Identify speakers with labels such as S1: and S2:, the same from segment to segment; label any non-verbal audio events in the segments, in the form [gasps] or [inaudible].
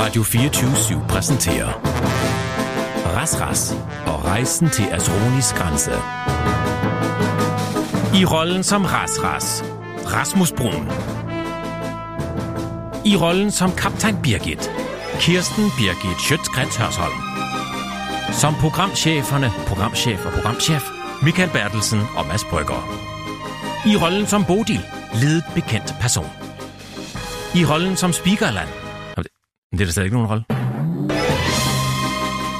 S1: Radio 24 præsenterer Ras Ras og rejsen til Asronis grænse. I rollen som Ras Ras, Rasmus Brun. I rollen som kaptajn Birgit, Kirsten Birgit Schøtzgrads Hørsholm. Som programcheferne, programchef og programchef, Michael Bertelsen og Mads Brygger. I rollen som Bodil, ledet bekendt person. I rollen som Speakerland. Nå, det- Det er der slet ikke nogen rolle.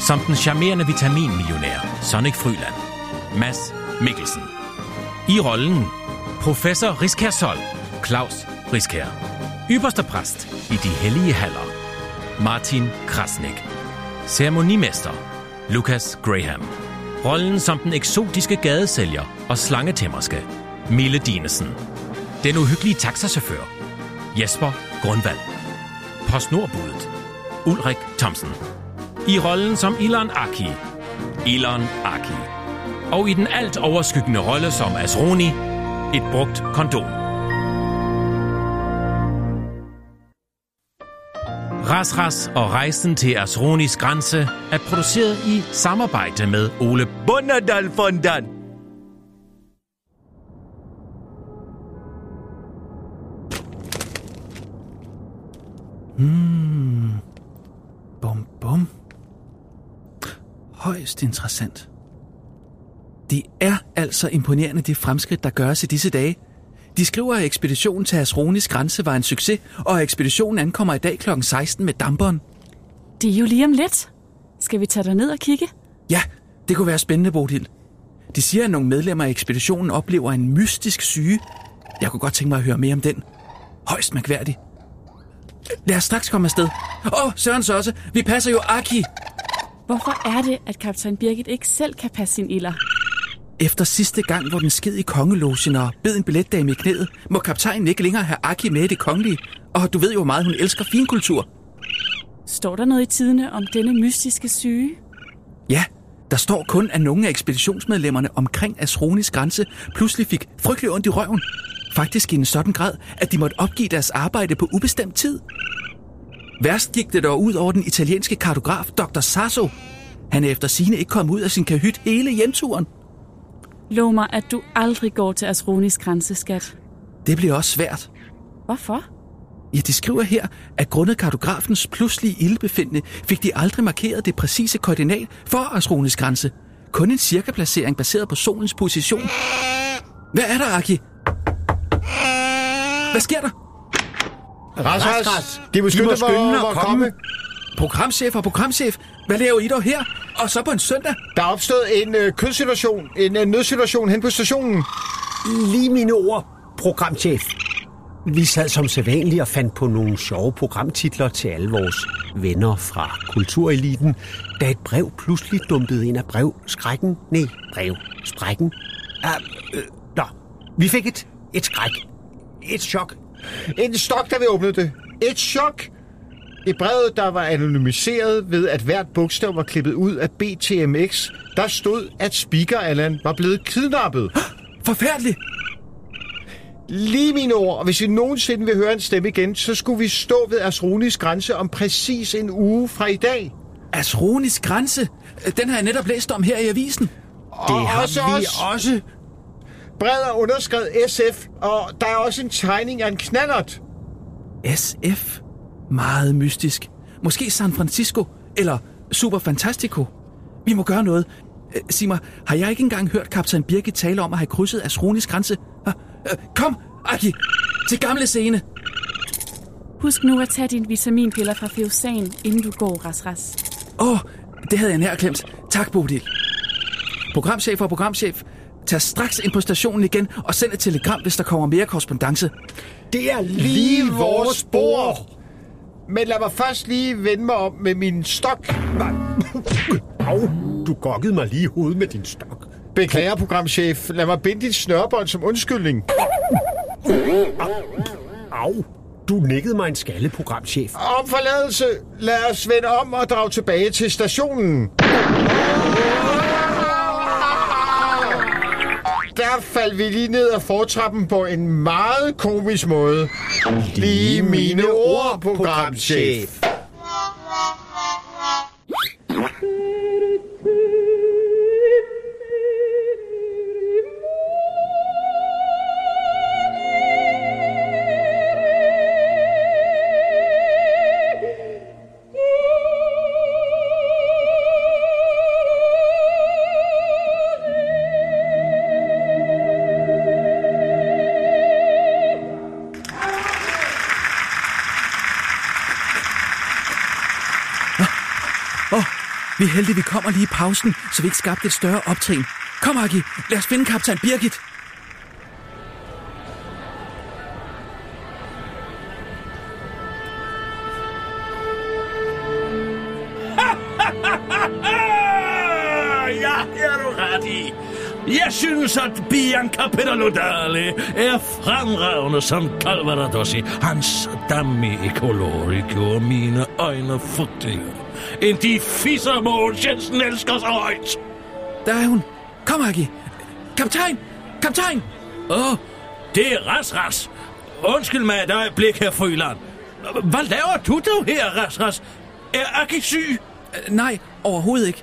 S1: Som den charmerende vitaminmillionær, Sonic Fryland. Mads Mikkelsen. I rollen Professor Riskærsol, Claus Riskær. Ypperste præst i de hellige haller, Martin Krasnik. Ceremonimester, Lucas Graham. Rollen som den eksotiske gadesælger og slangetæmmerske, Mille Dinesen. Den uhyggelige taxachauffør, Jesper Grundvald. PostNordbuddet, Ulrik Thomsen. I rollen som Ilan Aki, Ilan Aki. Og i den alt overskyggende rolle som Asroni, et brugt kondom. Ras Ras og rejsen til Asronis grænse er produceret i samarbejde med Ole Bunderdal Fondan.
S2: Hmm. Bum, bum. Højst interessant. Det er altså imponerende det fremskridt, der gøres i disse dage. De skriver, at ekspeditionen til Asronis grænse var en succes, og at ekspeditionen ankommer i dag kl. 16 med damperen.
S3: Det er jo lige om lidt. Skal vi tage dig ned og kigge?
S2: Ja, det kunne være spændende, Bodil. De siger, at nogle medlemmer af ekspeditionen oplever en mystisk syge. Jeg kunne godt tænke mig at høre mere om den. Højst mærkværdig. Lad os straks komme afsted. Åh, oh, Sørens også. Vi passer jo Aki.
S3: Hvorfor er det, at kaptajn Birgit ikke selv kan passe sin ilder?
S2: Efter sidste gang, hvor den sked i kongelogen og bed en billetdame i knæet, må kaptajnen ikke længere have Aki med i det kongelige. Og du ved jo, hvor meget hun elsker finkultur.
S3: Står der noget i tidene om denne mystiske syge?
S2: Ja, der står kun, at nogle af ekspeditionsmedlemmerne omkring Asronis grænse pludselig fik frygtelig ondt i røven. Faktisk i en sådan grad, at de måtte opgive deres arbejde på ubestemt tid. Værst gik det dog ud over den italienske kartograf Dr. Sasso. Han er efter sine ikke kommet ud af sin kahyt hele hjemturen.
S3: Lov mig, at du aldrig går til Asronis grænse, skat.
S2: Det bliver også svært.
S3: Hvorfor?
S2: Ja, de skriver her, at grundet kartografens pludselige ildbefindende fik de aldrig markeret det præcise koordinat for Asronis grænse. Kun en cirkaplacering baseret på solens position. Hvad er der, Aki? Hvad sker der?
S4: Ras, ras, ras. De beskytter,
S5: I må skynde jer
S4: hvor,
S5: at
S4: hvor
S5: komme.
S4: komme.
S2: Programchef og programchef, hvad laver I dog her? Og så på en søndag?
S4: Der er opstået en øh, kødsituation, en øh, nødsituation hen på stationen.
S5: Lige mine ord, programchef. Vi sad som sædvanligt og fandt på nogle sjove programtitler til alle vores venner fra kultureliten, da et brev pludselig dumpede ind af brevskrækken. Nej, brevsprækken. Ja, øh, nå, vi fik et, et skræk. Et chok.
S4: En stok, da vi åbnede det. Et chok! I brevet, der var anonymiseret ved, at hvert bogstav var klippet ud af BTMX, der stod, at Speaker Allan var blevet kidnappet.
S2: Forfærdeligt!
S4: Lige mine ord, og hvis vi nogensinde vil høre en stemme igen, så skulle vi stå ved Asronis grænse om præcis en uge fra i dag.
S2: Asronis grænse? Den har jeg netop læst om her i avisen.
S4: Det og har også vi også. også. Brevet er underskrevet SF, og der er også en tegning af en knallert.
S2: SF? Meget mystisk. Måske San Francisco, eller Super Fantastico. Vi må gøre noget. Øh, sig mig, har jeg ikke engang hørt kaptajn Birgit tale om at have krydset Asronis grænse? Ah, øh, kom, Aki, til gamle scene.
S3: Husk nu at tage dine vitaminpiller fra Feosan, inden du går, Rasras.
S2: Åh, oh, det havde jeg nær glemt. Tak, Bodil. Programchef og programchef, tag straks ind på stationen igen og send et telegram, hvis der kommer mere korrespondence.
S5: Det er lige, lige vores bord.
S4: Men lad mig først lige vende mig om med min stok.
S5: Au, du gokkede mig lige i hovedet med din stok.
S4: Beklager, programchef. Lad mig binde dit snørbånd som undskyldning.
S5: Au, du nikkede mig en skalle, programchef.
S4: Om forladelse, lad os vende om og drage tilbage til stationen. Der faldt vi lige ned ad fortrappen på en meget komisk måde. Lige mine ord, programchef.
S2: Åh, vi er heldige, vi kommer lige i pausen, så vi ikke skabte et større optrin. Kom, Aki, lad os finde kaptajn Birgit.
S6: Ja, det er du ret i. Jeg synes, at Bianca Pedalodale er fremragende som Calvaradossi. Hans damme ekolori gjorde mine øjne fugtige. End de fisser, Mogens Jensen elsker så højt.
S2: Der er hun. Kom, Aki. Kaptajn! Kaptajn!
S6: Åh, oh, det er Ras Ras. Undskyld mig et øjeblik, herr Fryland. Hvad laver du dog her, Ras Ras? Er Aki syg?
S2: Øh, Nej, overhovedet ikke.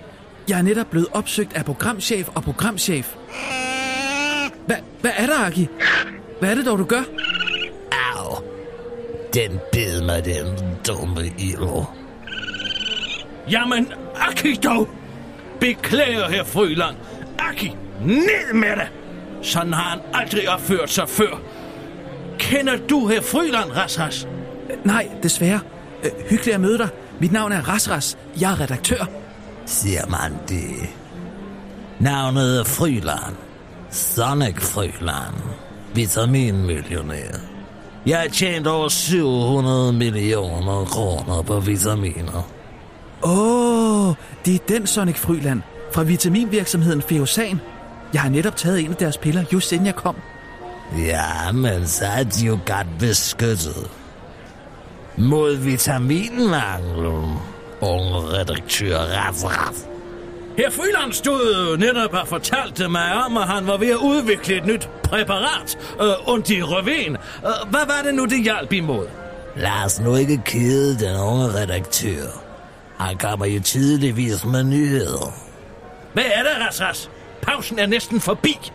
S2: Jeg er netop blevet opsøgt af programchef og programchef. Hva, hvad er der, Aki? Hvad er det dog, du gør? Øh,
S7: Den bed mig, den dumme ild.
S6: Jamen, Aki dog! Beklager, herr Frøland. Aki, ned med det! Sådan har han aldrig opført sig før. Kender du herr Frøland, Rasras?
S2: Nej, desværre. Øh, hyggeligt at møde dig. Mit navn er Rasras. Jeg er redaktør.
S7: Siger man det. Navnet er Fryland. Sonic Fryland. Vitaminmillionær. Jeg har tjent over 700 millioner kroner på vitaminer.
S2: Åh, oh, det er den Sonic Fryland fra vitaminvirksomheden Feosan. Jeg har netop taget en af deres piller, just inden jeg kom.
S7: Ja, men så er de jo godt beskyttet. Mod vitaminmanglen. Unge redaktør ret, ret.
S6: Herr Frøland stod netop og fortalte mig om, at han var ved at udvikle et nyt præparat, øh, Undirøven. Øh, hvad var det nu, det hjalp imod?
S7: Lad os nu ikke kede den unge redaktør. Han kommer jo tydeligvis med nyheder.
S6: Hvad er det, Rasras? Pausen er næsten forbi.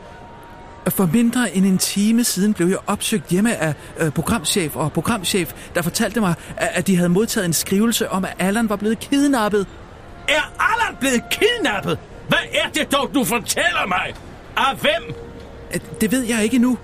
S2: For mindre end en time siden blev jeg opsøgt hjemme af øh, programchef og programchef, der fortalte mig, at, at de havde modtaget en skrivelse om, at Allan var blevet kidnappet.
S6: Er Allan blevet kidnappet? Hvad er det dog, du fortæller mig? Af hvem?
S2: Øh, Det ved jeg ikke endnu.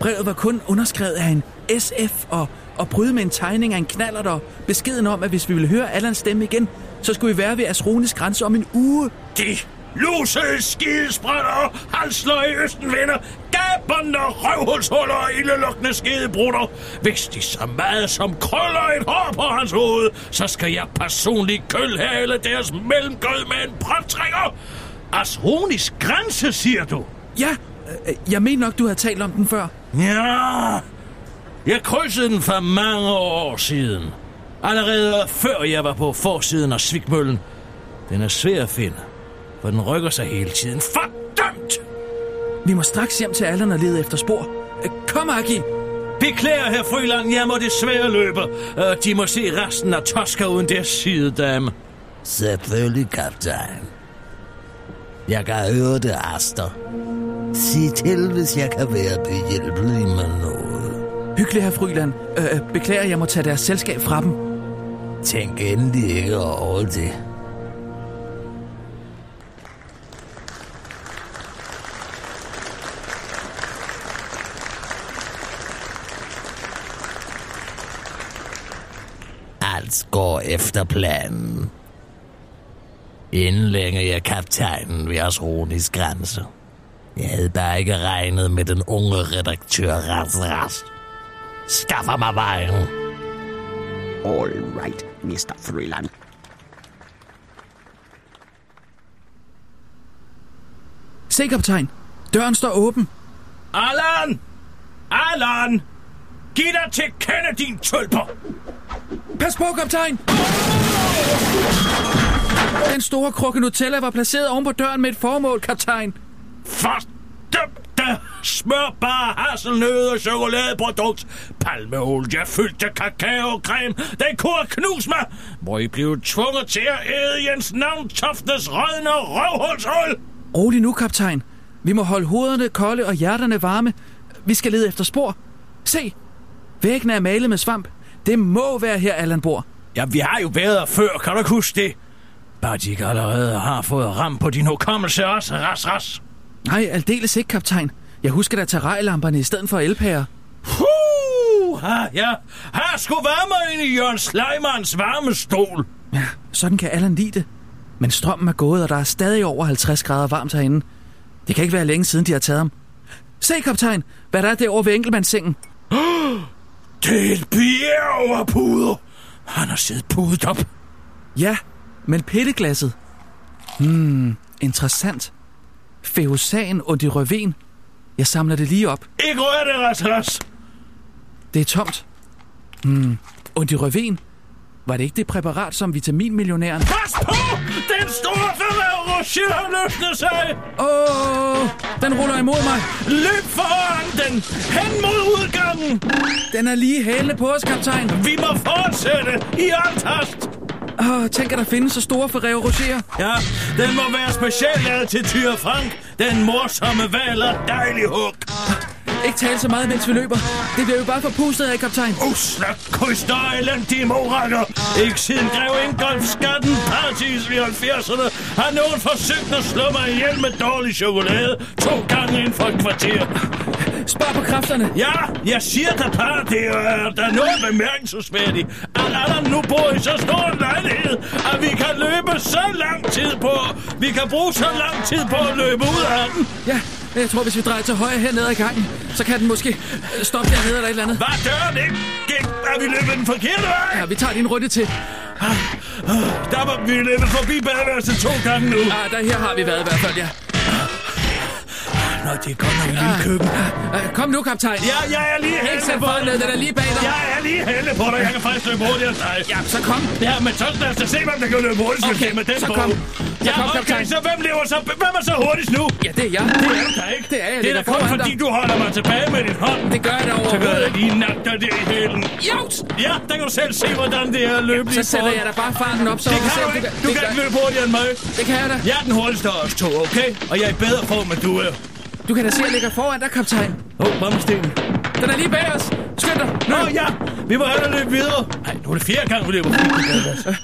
S2: Brevet var kun underskrevet af en SF og, og bryde med en tegning af en knaller, der beskeden om, at hvis vi ville høre Allans stemme igen, så skulle vi være ved Asrones grænse om en uge.
S6: De lusede skidesprætter, halsløg i østenvinder, gabende røvhulshuller og ildelugtende skedebrutter. Hvis de så meget som krøller et hår på hans hoved, så skal jeg personligt kølhale deres mellemgød med en proptrækker. Asronisk grænse, siger du?
S2: Ja, øh, jeg mener nok, du havde talt om den før.
S6: Ja, jeg krydsede den for mange år siden. Allerede før jeg var på forsiden af Svigmøllen. Den er svær at finde, for den rykker sig hele tiden. Fordømt!
S2: Vi må straks hjem til Allan og lede efter spor. Øh, Kom, Aki!
S6: Beklager, herr Frøland, jeg må desværre løbe. Øh, De må se resten af Tosca uden deres sidedame.
S7: Selvfølgelig, kaptajn. Jeg kan høre det, Aster. Sig til, hvis jeg kan være behjælpelig med noget.
S2: Hyggelig, herr Fryland. Øh, beklager, jeg må tage deres selskab fra dem.
S7: Tænk endelig ikke over det. Alt går efter planen. Inden længe er kaptajnen ved Asronis grænse. Jeg havde bare ikke regnet med den unge redaktør Ras Ras. Skaffer mig vejen.
S8: All right, Mr. Freeland.
S2: Se, kaptajn. Døren står åben.
S6: Allan! Allan! Giv dig til kende, din tølper!
S2: Pas på, kaptajn! Den store krukke Nutella var placeret oven på døren med et formål, kaptajn.
S6: Fordømte smørbar hasselnød og chokoladeprodukt. Palmeolie fyldte kakaocreme. Den kunne have knust mig. Må I blive tvunget til at æde Jens Navntoftes rødne røvhulshul.
S2: Rolig nu, kaptajn. Vi må holde hovederne kolde og hjerterne varme. Vi skal lede efter spor. Se! Væggene er malet med svamp. Det må være her, Allan bor.
S6: Ja, vi har jo været her før, kan du ikke huske det? Bare de ikke allerede har fået ram på din hukommelse også, ras, ras.
S2: Nej, aldeles ikke, kaptajn. Jeg husker da terrarielamperne i stedet for elpærer.
S6: Puh, ha, ja. Her skulle varme ind i Jørgen Sleimanns varme stol.
S2: Sådan kan Allan lide det. Men strømmen er gået, og der er stadig over 50 grader varmt herinde. Det kan ikke være længe siden, de har taget ham. Se, kaptajn, hvad der er derovre ved enkeltmandssengen.
S6: [gasps] Det er et bjerg af puder. Han har siddet pudet op.
S2: Ja, men pilleglasset. Hmm, interessant. Feosan og de røven. Jeg samler det lige op.
S6: Ikke rør det, Rasmus.
S2: Det er tomt. Hmm, og de røven. Var det ikke det præparat, som vitaminmillionæren...
S6: Pas på! Den store ferrero har løftet sig.
S2: Åh, oh, den ruller imod mig.
S6: Løb foran den. Hen mod udgangen.
S2: Den er lige hælende på os, kaptajn.
S6: Vi må fortsætte i antast.
S2: Åh, oh, tænk, at der findes så store Ferrero Rocher.
S6: Ja, den må være specielt til Tyre Frank. Den morsomme valer dejlig hug.
S2: Ikke tale så meget, mens vi løber. Det bliver jo bare forpustet af, kaptajn.
S6: Usle kyster og elendige morakker. Ikke siden grev Ingolf Skatten Partis i 70'erne har nogen forsøgt at slå mig ihjel med dårlig chokolade to gange inden for et kvarter.
S2: Spar på kræfterne.
S6: Ja, jeg siger da bare, det er øh, der er noget bemærkelsesværdigt, at Adam nu bor i så stor en lejlighed, at vi kan løbe så lang tid på, vi kan bruge så lang tid på at løbe ud af den.
S2: Ja, jeg tror, hvis vi drejer til højre hernede ad gangen, så kan den måske øh, stoppe dernede eller et eller andet.
S6: Var døren ikke? Gik, er vi løbet den forkerte vej?
S2: Ja, vi tager din runde til. Ah,
S6: Der var vi løbet forbi badeværelset to gange nu.
S2: Ah, der her har vi været i hvert fald, ja.
S6: Nå, det er godt nok et lille køkken.
S2: Ah, kom nu, kaptajn.
S6: Ja, jeg er lige
S2: Ikke
S6: hælde
S2: sæt
S6: på
S2: foran ned,
S6: dig.
S2: den er lige bag dig.
S6: Jeg er lige hælde på dig. Jeg kan faktisk løbe hurtigere end dig.
S2: Ja, så kom.
S6: Ja, men så lad os da se, hvem der kan løbe hurtigst, hvis
S2: Okay,
S6: det er med den
S2: så
S6: på.
S2: kom. Så
S6: Ja,
S2: kom,
S6: okay,
S2: kaptajn.
S6: så hvem lever så... Hvem er så hurtigst nu?
S2: Ja, det er jeg. Det er
S6: Der er ikke.
S2: Det er jeg.
S6: Det er da
S2: ligger
S6: kun
S2: foran
S6: fordi,
S2: dig.
S6: du holder mig tilbage med din hånd.
S2: Det gør jeg da
S6: Så gør jeg
S2: overhovedet
S6: da
S2: ikke.
S6: lige nakker det i hælen.
S2: Jovs!
S6: Ja, der kan du selv se, hvordan det er løbende
S2: Så sætter jeg da bare farten op, så
S6: Det
S2: vi
S6: kan
S2: ser,
S6: du
S2: om
S6: ikke.
S2: gør-
S6: Du
S2: det
S6: kan ikke
S2: gør-
S6: løbe hurtigere end mig.
S2: Det kan jeg da.
S6: Jeg er den hurtigste af os to, okay? Og jeg er i bedre form, end du er.
S2: Du kan da se, at jeg ligger foran dig, kaptajn.
S6: Åh, oh, mammestenen.
S2: Den er lige bag os. Skynd dig.
S6: Nå ja, vi må hellere løbe videre. Nej, nu er det fjerde gang, vi løber.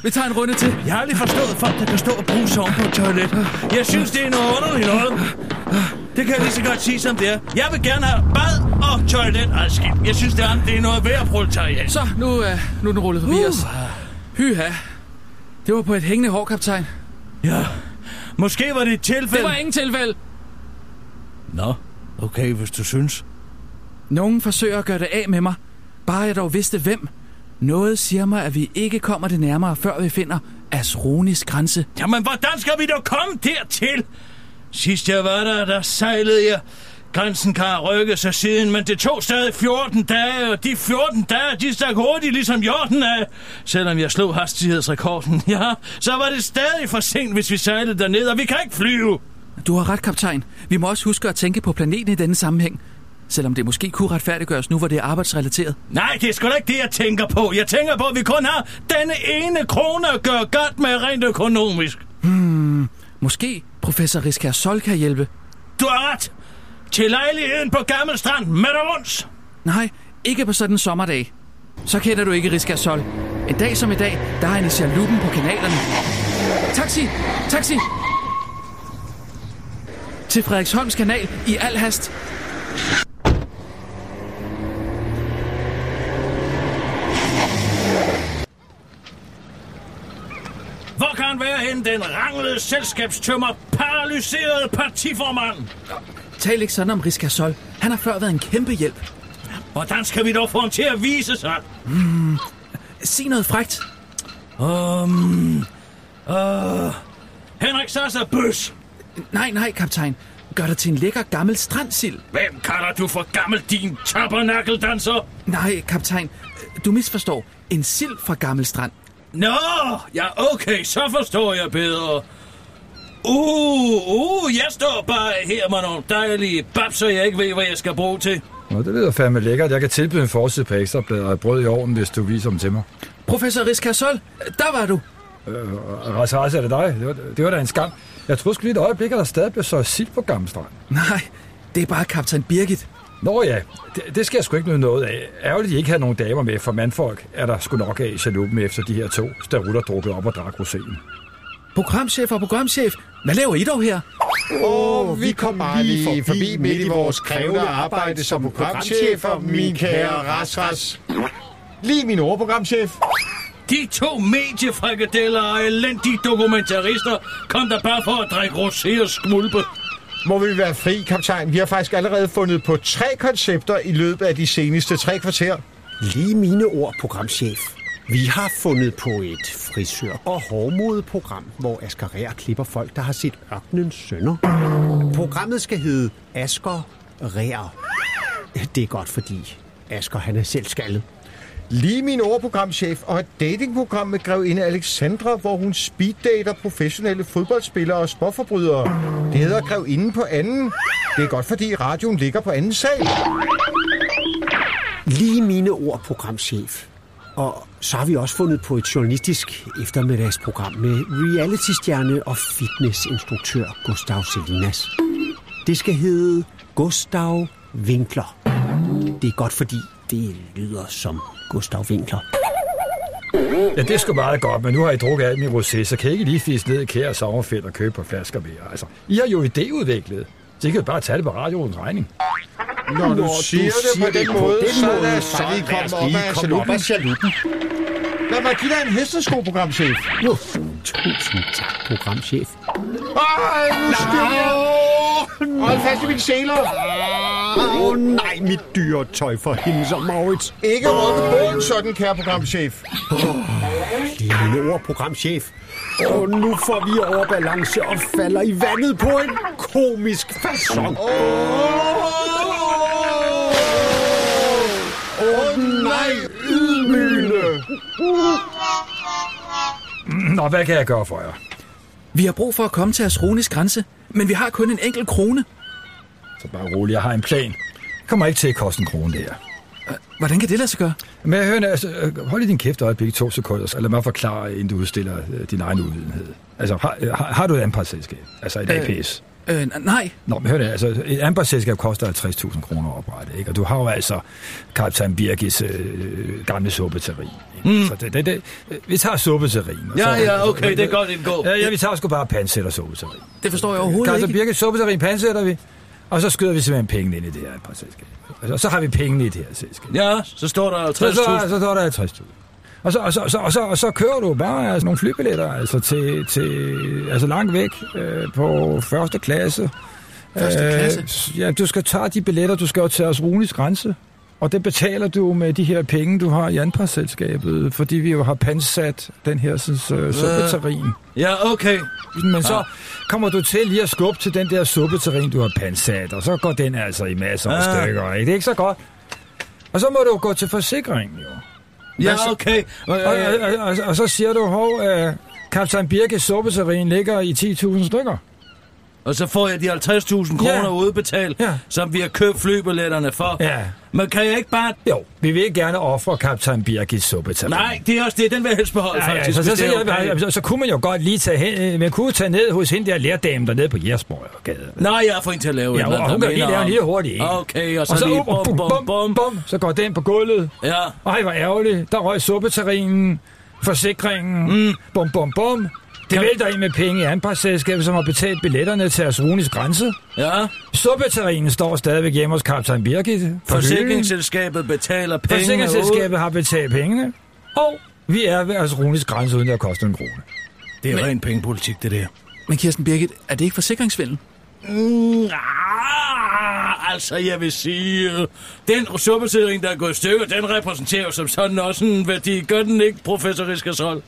S2: Vi tager en runde til.
S6: Jeg har aldrig forstået folk, der kan stå og bruge soven på et toilet. Jeg synes, det er noget underligt noget. Det kan jeg lige så godt sige, som det er. Jeg vil gerne have bad og toilet adskilt. Jeg synes, det andet, det er noget værd proletariat.
S2: Så, nu, øh, nu er den rullet
S6: Uh.
S2: forbi os. Hyha. Det var på et hængende hår, kaptajn.
S6: Ja, måske var det et
S2: Det
S6: tilfælde.
S2: var ingen tilfælde.
S6: Nå, okay, hvis du synes.
S2: Nogen forsøger at gøre det af med mig. Bare jeg dog vidste hvem. Noget siger mig, at vi ikke kommer det nærmere, før vi finder Asronis grænse.
S6: Jamen, hvordan skal vi da komme dertil? Sidst jeg var der, der sejlede jeg. Grænsen kan have rykket sig siden, men det tog stadig 14 dage, og de 14 dage, de stak hurtigt ligesom hjorten af. Selvom jeg slog hastighedsrekorden, [laughs] ja, så var det stadig for sent, hvis vi sejlede derned, og vi kan ikke flyve.
S2: Du har ret, kaptajn. Vi må også huske at tænke på planeten i denne sammenhæng. Selvom det måske kunne retfærdiggøres nu, hvor det er arbejdsrelateret.
S6: Nej, det er sgu da ikke det, jeg tænker på. Jeg tænker på, at vi kun har denne ene krone at gøre godt med rent økonomisk.
S2: Hmm, Måske professor Riskær Sol kan hjælpe.
S6: Du har ret. Til lejligheden på Gammel Strand, med dig rundt.
S2: Nej, ikke på sådan en sommerdag. Så kender du ikke Riskær Sol. En dag som i dag, der er en i chaluppen på kanalerne. Taxi! Taxi! Til Frederiksholms kanal i al hast.
S6: Hvor kan han være henne, den ranglede selskabstømmer, paralyserede partiformand?
S2: Tal ikke sådan om Riskær Sol. Han har før været en kæmpe hjælp.
S6: Hvordan skal vi dog få ham til at vise sig?
S2: Hmm. Sig noget frægt.
S9: øh,
S6: Henrik Sasser Bøs.
S2: Nej, nej, kaptajn. Gør dig til en lækker gammel strandsild.
S6: Hvem kalder du for gammel, din tabernakeldanser?
S2: Nej, kaptajn. Du misforstår. En sild fra Gammel Strand.
S6: Nå, ja okay, så forstår jeg bedre. Uh, uh, jeg står bare her med nogle dejlige babser, jeg ikke ved, hvad jeg skal bruge til.
S9: Nå, det lyder fandme lækkert. Jeg kan tilbyde en forside på ekstrabladet og et brød i ovnen, hvis du viser dem til mig. Øh,
S2: Professor Riskær Sol, der var du.
S9: Ras, ras, er det dig? Det var, det var da en skam. Jeg troede sgu lige et øjeblik, at der stadig blev så sild på Gammel Strand.
S2: Nej, det er bare kaptajn Birgit.
S9: Nå ja, det, det skal jeg sgu ikke nyde noget af. Ærgerligt, at I ikke havde nogen damer med, for mandfolk er der sgu nok af i chaluppen efter de her to starutter drukket op og drak roséen.
S2: Programchef og programchef, hvad laver I dog her?
S4: Og vi kom bare lige forbi midt i vores krævende arbejde som programchefer, min kære Rasras. Lige min overprogramchef.
S6: De to mediefrikadeller og elendige dokumentarister kom der bare for at drikke rosé og smulpe.
S4: Må vi være fri, kaptajn? Vi har faktisk allerede fundet på tre koncepter i løbet af de seneste tre kvarter.
S5: Lige mine ord, programchef. Vi har fundet på et frisør- og hårdmodeprogram, hvor Asger Rær klipper folk, der har set ørkenens sønder. Programmet skal hedde Asger Rær. Det er godt, fordi Asger han er selv skaldet.
S4: Lige min overprogramchef og et datingprogram med grevinde Alexandra, hvor hun speeddater professionelle fodboldspillere og sporforbrydere. Det hedder Grevinde på anden. Det er godt, fordi radioen ligger på anden sal.
S5: Lige mine ord, programchef. Og så har vi også fundet på et journalistisk eftermiddagsprogram med reality-stjerne og fitnessinstruktør Gustav Selinas. Det skal hedde Gustav Winkler. Det er godt, fordi det lyder som Gustav Winkler.
S9: Ja, det er sgu meget godt, men nu har I drukket alt min rosé, så kan I ikke lige fiske ned i kære sommerfelt og købe på flasker mere. Altså, I har jo idéudviklet. Så I kan jo bare tage det på radioens regning.
S4: Når du siger det på den måde, så lad os
S5: så
S4: lige
S5: lad os
S4: komme op
S5: lige
S4: af
S5: komme op
S4: chaluppen.
S5: af chaluppen.
S4: Lad mig give dig en hestesko-programchef.
S5: Nu, tusind tak, programchef.
S4: Ej, nu skal jeg... Hold fast i mine sæler.
S5: Åh oh, nej, mit dyre tøj for hende som Maurits.
S4: Ikke råd på båden, sådan, kære programchef.
S5: Det er mine ord, programchef. Og nu får vi overbalance og falder i vandet på en komisk façon. Åh oh, nej, ydmygende.
S9: Nå, hvad kan jeg gøre for jer?
S2: Vi har brug for at komme til Asronis grænse, men vi har kun en enkelt krone.
S9: Så bare rolig, jeg har en plan. Det kommer ikke til at koste en krone, det her.
S2: Hvordan kan det lade sig gøre?
S9: Men jeg hører, altså, øh, hold lige din kæft et øjeblik i to sekunder, så lad mig forklare, inden du udstiller øh, din egen uvidenhed. Altså, har, øh, har, har du et anpartsselskab? Altså et
S2: Øh.
S9: APS?
S2: Øh, n- nej,
S9: Nå, men hør det, altså, et anpartsselskab koster 50.000 kroner at oprette, ikke? Og du har jo altså kaptajn Birgis øh, gamle suppeteri. Mm. Så det, det, det, øh, vi tager suppeterien. og
S6: Ja,
S9: så-
S6: ja, okay, det er godt indgå.
S9: Ja, ja, vi tager sgu bare pansæt og suppeteri.
S2: det forstår jeg overhovedet
S9: Kaptajn
S2: ikke.
S9: Birgis suppeterien pansætter vi, og så skyder vi simpelthen pengene ind i det her anpartsselskab. Altså, så har vi pengene i det her selskab.
S6: Ja, så står der
S9: Så,
S6: 50.000.
S9: så, så, så er der 50.000. Og så, og, så, og, så, og, så, og så kører du bare altså, nogle flybilletter altså, til, til, altså langt væk øh, på første klasse.
S2: Første klasse?
S9: Øh, ja, du skal tage de billetter, du skal jo til Asrunis grænse. Og det betaler du med de her penge, du har i anpartsselskabet, fordi vi jo har pansat den her sådan, øh, suppeterrin.
S6: Ja, okay.
S9: Men så kommer du til lige at skubbe til den der suppeterrin, du har pansat, og så går den altså i masser af
S6: Ah.
S9: stykker, ikke? Det er ikke så godt. Og så må du jo gå til forsikringen, jo.
S6: Ja,
S9: Hvad så?
S6: okay. Og,
S9: Og,
S6: øh,
S9: og, og, og, og så siger du, hov, øh, kaptajn Birkes suppeterrin ligger i 10.000 stykker.
S6: Og så får jeg de 50.000 kroner
S9: Ja.
S6: udbetalt,
S9: Ja.
S6: som vi har købt flybilletterne for.
S9: Ja.
S6: Men kan jeg ikke bare...
S9: Jo, vi vil gerne ofre kaptajn Birkes suppeterrin.
S6: Nej, det er også det. Den vil jeg helst beholde,
S9: Ja, ja,
S6: faktisk.
S9: så,
S6: hvis
S9: så,
S6: det
S9: så,
S6: er okay.
S9: så, så, så kunne man jo godt lige tage hen, øh, man kunne tage ned hos hende der lærdamen dernede på Jersborg gade.
S6: Nej, jeg får en til at lave et
S9: Ja,
S6: eller
S9: og
S6: andet,
S9: hun
S6: der
S9: kan lige
S6: minder
S9: lave en
S6: om-
S9: lille hurtig en.
S6: Okay, og så,
S9: Og så,
S6: lige
S9: uh,
S6: bum, bum, bum, bum.
S9: så går den på gulvet.
S6: Ja,
S9: Ej, hvor ærgerligt. Der røg suppeterrinen, forsikringen, mm. bum, bum, bum. Det vælter ind med penge i anpartsselskabet, som har betalt billetterne til Asrunis grænse.
S6: ja.
S9: Suppeterrinen står stadigvæk hjemme hos kaptajn Birgit. på hylden.
S6: Forsikringsselskabet betaler penge.
S9: Forsikringsselskabet har betalt pengene. Og vi er ved Asrunis grænse, uden det har kostet en krone.
S6: Det er ren pengepolitik, det der.
S2: Men Kirsten Birgit, er det ikke forsikringsvindel?
S6: Mm, ah, altså, jeg vil sige... øh, Den suppesædring, der er gået i stykker, den repræsenterer jo som sådan også en værdi. Gør den ikke, professor Riskasol?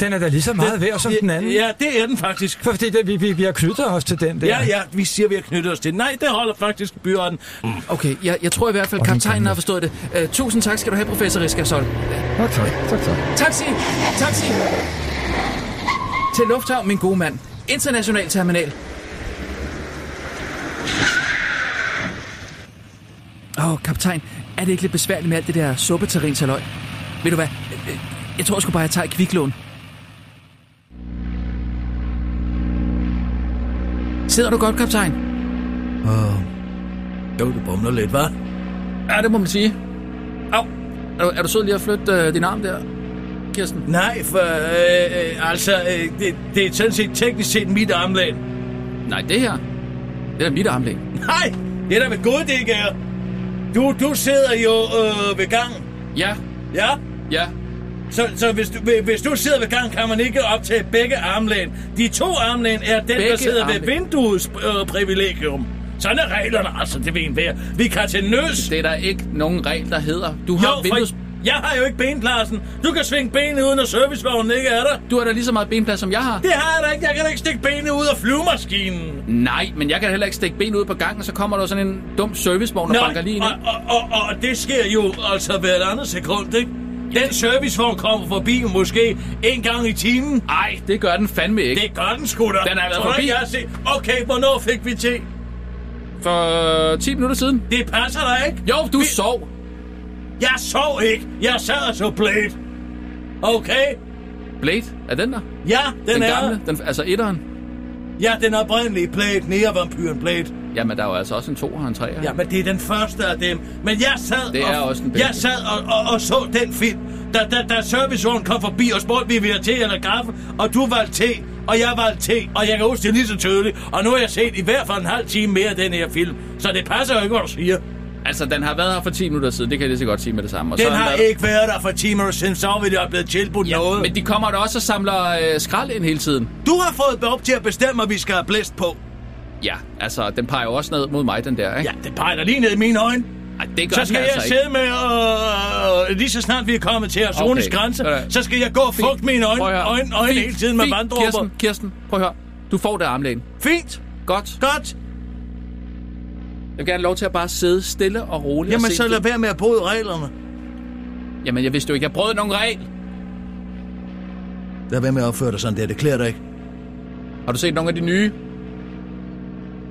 S9: Den er da lige så meget værd som den anden.
S6: Ja, det er den faktisk.
S9: Fordi det, vi, vi, vi har knyttet os til den der.
S6: Ja, ja, vi siger, vi har knyttet os til. Nej, det holder faktisk byråden.
S2: Mm. Okay, jeg, jeg tror i hvert fald, kaptajnen har forstået det. Øh, tusind tak skal du have, professor Riskasol.
S9: Nå, tak, tak, tak.
S2: Taxi! Taxi! Til Lufthavn, min gode mand. International terminal. Åh, oh, kaptajn, er det ikke lidt besværligt med alt det der suppeterrinsaløg? Ved du hvad, Øh, øh, jeg tror sgu bare, jeg tager et kviklån. Sidder du godt, kaptajn?
S6: Jo, det bumler lidt, hva'?
S2: Ja, det må man sige. Au, er du, er du sød lige at flytte øh, din arm der, Kirsten?
S6: Nej, for øh, øh, altså, øh, det, det er sådan set teknisk set mit armlæn.
S2: Nej, det her, det er da mit armlæg.
S6: Nej, det er da med god det ikke er. Du, du sidder jo øh, ved gang.
S2: Ja,
S6: Ja,
S2: ja,
S6: Så, så hvis, du, hvis du sidder ved gang, kan man ikke optage begge armlæn. De to armlæn er den, begge der
S2: Begge
S6: sidder armlæn. ved
S2: armlæn.
S6: vinduets øh, privilegium. Sådan er reglerne, altså, det ved en hver. Vi kan til nøs.
S2: Det er der ikke nogen regel, der hedder. Du har,
S6: Jo,
S2: vindues...
S6: for jeg har jo ikke ben, Larsen. Du kan svinge benet uden at servicevognen ikke er der.
S2: du har da lige så meget benplads, som jeg har.
S6: Det har jeg da ikke. Jeg kan da ikke stikke benet ud af flyvemaskinen.
S2: Nej, men jeg kan heller ikke stikke ben ud på gangen, så kommer der sådan en dum servicevogn og banker lige ind.
S6: og, og, og, og det sker jo altså hvert andet sekund, ikke? Den servicevogn kommer forbi måske en gang i timen.
S2: Nej, det gør den fandme ikke.
S6: Det gør den sgu da.
S2: Den er været
S6: Tror du
S2: forbi.
S6: ikke, Jeg har set. Okay, hvornår fik vi til?
S2: For 10 minutter siden.
S6: Det passer da ikke.
S2: Jo, du sov.
S6: Jeg sov ikke. Jeg sad og så blæt. Okay?
S2: Blade, er den der?
S6: Ja, den,
S2: den
S6: er.
S2: gamle? Den, altså etteren?
S6: Ja, den oprindelige blæt. Nærvampyren blæt.
S2: Jamen, der er jo altså også en to og en treer.
S6: Ja, men det er den første af dem. Men jeg sad,
S2: Det
S6: og,
S2: er også den bedste.
S6: jeg sad og, og, og så den film, da, da, da servicevognen kom forbi og spurgte, vi vil have te eller kaffe, og du valgte te, og jeg valgte te, og jeg kan huske det lige så tydeligt, og nu har jeg set i hvert fald en halv time mere af den her film, så det passer jo ikke, hvad du siger.
S2: Altså, den har været her for 10 minutter siden, det kan jeg lige så godt sige med det samme. Og
S6: Den
S2: så er
S6: har
S2: der-
S6: ikke været der for timer siden, så ville jeg blevet tilbudt ja, noget.
S2: Men de kommer da også og samler øh, skrald ind hele tiden.
S6: Du har fået op til at bestemme, at vi skal have blæst på.
S2: Ja, altså, den peger jo også ned mod mig, den der, ikke?
S6: Ja, det peger da lige ned i mine øjne.
S2: Ej, det gør
S6: Så
S2: den
S6: skal jeg
S2: altså ikke.
S6: sidde med, og lige så snart vi er kommet til Arzones
S2: Okay.
S6: grænse,
S2: Sådan.
S6: så skal jeg gå og fugte mine øjne,
S2: Prøv at høre.
S6: øjne, øjne
S2: Fint,
S6: hele tiden med
S2: fint.
S6: vanddråber.
S2: Kirsten, Kirsten, prøv at høre. Du får det armlægen.
S6: Fint,
S2: Godt.
S6: godt.
S2: Jeg vil gerne have lov til at bare sidde stille og roligt. og
S6: Jamen,
S2: se
S6: så
S2: det.
S6: lad være med at bryde reglerne.
S2: Jamen, jeg vidste jo ikke, jeg brød nogen regel.
S6: Lad være med at opføre dig sådan der, det klæder dig ikke.
S2: Har du set nogle af de nye?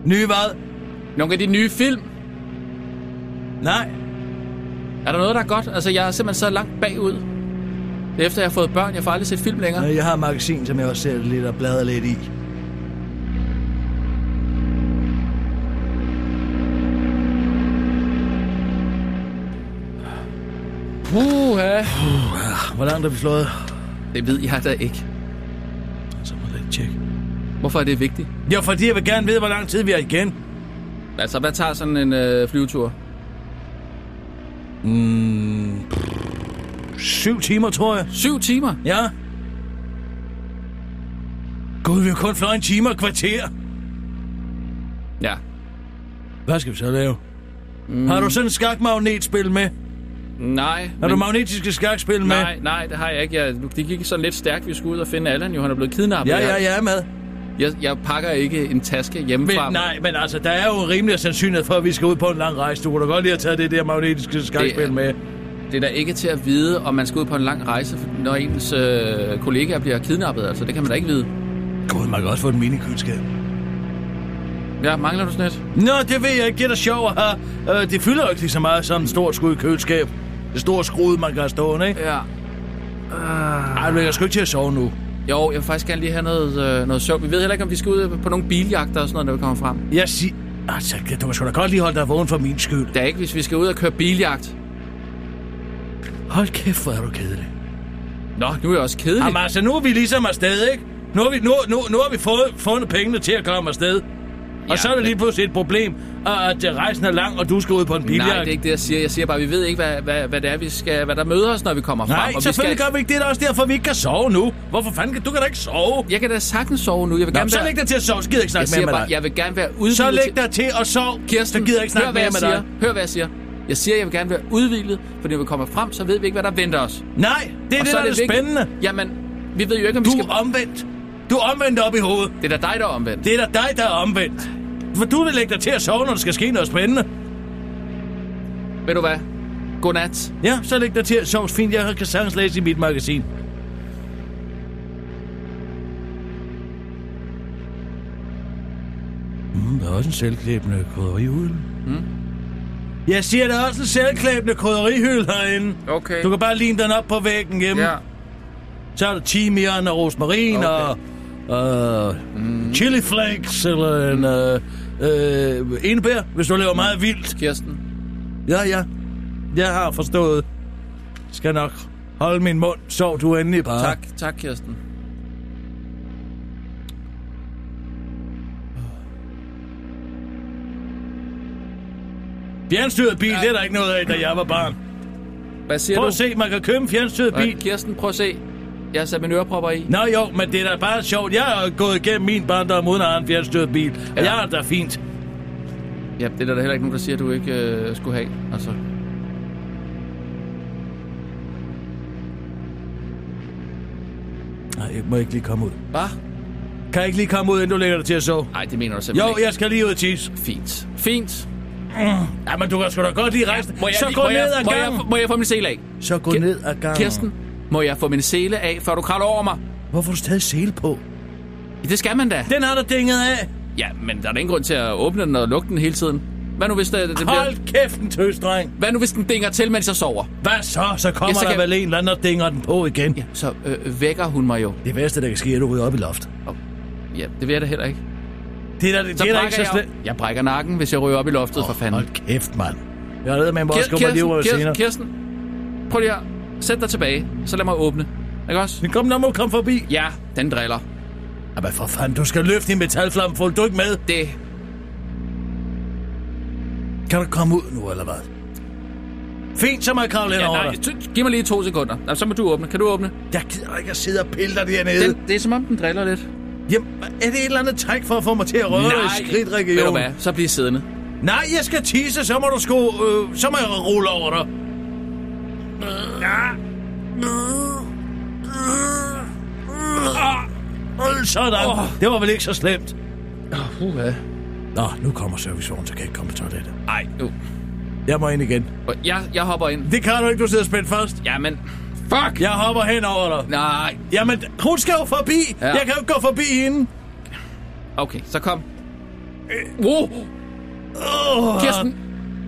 S6: Nye hvad?
S2: Nogle af de nye film?
S6: Nej.
S2: Er der noget, der er godt? Altså, jeg er simpelthen så langt bagud. Det er Efter jeg har fået børn, jeg får aldrig set film længere.
S6: Jeg har et magasin, som jeg også ser lidt og bladrer lidt i.
S2: Puh,
S6: Hvor langt er vi slået?
S2: Det ved jeg da ikke.
S6: Så må jeg tjekke.
S2: Hvorfor er det vigtigt?
S6: Jo, fordi jeg vil gerne vide, hvor lang tid vi er igen.
S2: Altså, hvad tager sådan en øh, flyvetur?
S6: Mm. Syv timer, tror jeg.
S2: Syv timer?
S6: Ja. Gud, vi har kun fløjet en time og et kvarter.
S2: Ja.
S6: Hvad skal vi så lave? Mm. Har du sådan et skakmagnetspil med?
S2: Nej.
S6: Har du magnetiske skakspil med?
S2: Nej, nej, det har jeg ikke. Jeg, det gik sådan lidt stærkt, vi skulle ud og finde Allan. Jo, han er blevet kidnappet.
S6: Ja, ja,
S2: Jeg,
S6: jeg er med.
S2: jeg, jeg pakker ikke en taske
S6: Men,
S2: hjemmefra.
S6: nej, men altså, der er jo en rimelig sandsynlighed for, at vi skal ud på en lang rejse. Du kunne da godt lige have taget det der magnetiske skakspil
S2: Det er-
S6: med.
S2: Det er da ikke til at vide, om man skal ud på en lang rejse, når ens øh, kollegaer bliver kidnappet. Altså, det kan man da ikke vide.
S6: Gud, man kan også få et minikøleskab.
S2: Ja, mangler du sådan et?
S6: Nå, det ved jeg ikke. Det er da sjovt at have. Øh, det fylder jo ikke lige så meget som en stor skud i køleskab. Det store skrude, man kan have stående, ikke?
S2: Ja.
S6: Ah. Ej, men jeg skal ikke til at sove nu.
S2: Jo, jeg vil faktisk gerne lige have noget, øh, noget søvn. Vi ved heller ikke, om vi skal ud på nogle biljagter og sådan noget, når vi kommer frem.
S6: Jeg siger... Altså, du kan sgu da godt lige holde dig vågen for min skyld.
S2: Det er ikke, hvis vi skal ud og køre biljagt.
S6: Hold kæft, hvor er du kedelig.
S2: Nå, nu er jeg også kedelig.
S6: Jamen altså, nu er vi ligesom afsted, ikke? Nu har vi, nu, nu, nu har vi fået, fundet pengene til at komme afsted.
S2: Ja,
S6: Og så er der
S2: men-
S6: lige pludselig et problem, og at øh, rejsen er lang, og du skal ud på en biljagt.
S2: Nej, det er ikke det, jeg siger. Jeg siger bare, at vi ved ikke, hvad, hvad, hvad det er, vi skal, hvad der møder os, når vi kommer frem.
S6: Nej,
S2: vi
S6: selvfølgelig
S2: skal...
S6: gør vi ikke det. Det er da også derfor, vi ikke kan sove nu. Hvorfor fanden kan du kan da ikke sove?
S2: Jeg kan da sagtens sove nu. Jeg vil
S6: Nå,
S2: gerne
S6: så
S2: være...
S6: læg dig til at sove. Så gider jeg ikke
S2: jeg
S6: snakke
S2: siger
S6: mere med
S2: bare,
S6: dig.
S2: jeg vil gerne være udvildet
S6: Så
S2: til...
S6: læg dig til at sove.
S2: Kirsten,
S6: så gider jeg ikke
S2: hør,
S6: snakke
S2: hvad
S6: mere
S2: jeg
S6: med
S2: siger.
S6: dig.
S2: Hør, hvad jeg siger. Jeg siger, at jeg vil gerne være udvildet, for når vi kommer frem, så ved vi ikke, hvad der venter os.
S6: Nej, det er
S2: Og
S6: det,
S2: så
S6: der er det
S2: vigtigt.
S6: spændende.
S2: Jamen, vi ved jo ikke, om
S6: Du
S2: vi
S6: er
S2: skal...
S6: omvendt. Du er omvendt op i hovedet.
S2: Det er da dig, der er omvendt.
S6: Det er da dig, der er omvendt. For du vil lægge dig til at sove, når der skal ske noget spændende.
S2: Ved du hvad? Godnat.
S6: Ja, så læg dig til at sove fint. Jeg kan sagtens læse i mit magasin. Mm, der er også en selvklæbende krydderihylde. Mm. Jeg siger, der er også en selvklæbende krydderihylde herinde.
S2: Okay.
S6: Du kan bare ligne den op på væggen hjemme.
S2: Ja.
S6: Så er der timian og rosmarin okay. og uh, mm. chili flakes eller en uh, uh, enebær, hvis du laver meget vildt.
S2: Kirsten.
S6: Ja, ja. Jeg har forstået. Skal nok holde min mund. Sov du endelig bare.
S2: Tak, tak Kirsten.
S6: Fjernstyret bil, ja. det er der ikke noget af, da jeg var barn.
S2: Hvad siger
S6: Prøv
S2: du?
S6: at se, man kan købe en fjernstyret
S2: Øh,
S6: bil.
S2: Kirsten, prøv at se. Jeg har sat mine ørepropper i.
S6: Nå jo, men det er da bare sjovt. Jeg har gået igennem min barndom uden at have en fjernstyret bil. Og
S2: Ja.
S6: jeg er da fint.
S2: Ja, det er der da heller ikke nogen, der siger, at du ikke øh, skulle have. Altså.
S6: Nej, jeg må ikke lige komme ud.
S2: Bare?
S6: Kan jeg ikke lige komme ud, inden du lægger dig til at sove?
S2: Nej, det mener du
S6: Jo,
S2: simpelthen ikke.
S6: jeg skal lige ud og tisse.
S2: Fint. Fint.
S6: Ja, men du kan sgu da godt lige rejse.
S2: Må jeg,
S6: Så
S2: lige-
S6: gå
S2: må
S6: ned
S2: jeg,
S6: ad
S2: må jeg,
S6: gangen.
S2: må jeg få min sele af?
S6: Så gå
S2: Ki-
S6: ned ad gangen.
S2: Kirsten, må jeg få min sele af, før du kravler over mig?
S6: Hvorfor har du stadig sele på?
S2: Det skal man da.
S6: Den har du dinget af.
S2: Ja, men der er da ingen grund til at åbne den og lukke den hele tiden. Hvad nu hvis, øh, det, det bliver,
S6: Hold kæft, en tøs, dreng.
S2: hvad nu, hvis den dinger til, mens jeg sover?
S6: Hvad så? Så kommer
S2: Ja,
S6: ja,
S2: så
S6: så der
S2: kan-
S6: vel en eller anden, der dinger den på igen. Ja.
S2: Så øh, vækker hun mig jo.
S6: Det værste, der kan ske, er, at du ryger op i loft.
S2: Ja, det vil jeg da heller ikke.
S6: Det er da, det,
S2: Så
S6: er da ikke
S2: brækker
S6: så
S2: jeg,
S6: slemt.
S2: jo- jeg brækker nakken, hvis jeg ryger op i loftet, for fanden.
S6: Hold kæft, mand. Jeg ved, man må
S2: Kir-
S6: også komme lige ud
S2: Kirsten,
S6: senere.
S2: Kirsten, prøv lige at sæt dig tilbage, så lad mig åbne. Ikke også?
S6: Men kom, der må komme forbi.
S2: Ja, den driller.
S6: Jamen for fanden, du skal løfte din metalflamme, får du ikke med?
S2: Det.
S6: Kan du komme ud nu, eller hvad? Fint, så må jeg kravle ind
S2: Ja,
S6: over
S2: nej,
S6: dig.
S2: t- giv mig lige to sekunder. Nå, så må du åbne. Kan du åbne?
S6: Jeg gider ikke at sidde og pille dig dernede. Den...
S2: Den, det er som om, den driller lidt.
S6: Jamen, er det et eller andet træk for at få mig til at røre dig i
S2: Ved du
S6: skridtregionen?
S2: hvad? Så bliv siddende.
S6: Nej, jeg skal tisse, så må du sgu... Øh, så må jeg rulle over dig. Ja. Ah, Sådan.
S2: Åh.
S6: Det var vel ikke så slemt.
S2: Uh,
S6: Nå, nu kommer servicevognen, så kan jeg ikke komme på toilettet.
S2: Ej, nu.
S6: Jeg må ind igen.
S2: Jeg, jeg hopper ind.
S6: Det kan du ikke, du sidder spændt fast.
S2: Jamen, fuck!
S6: Jeg hopper hen over dig.
S2: Nej,
S6: Jamen, hun skal jo forbi.
S2: Ja.
S6: Ja. Jeg kan jo ikke gå forbi hende.
S2: okay, så kom. Øh, Wow,
S6: Oh.
S2: Kirsten,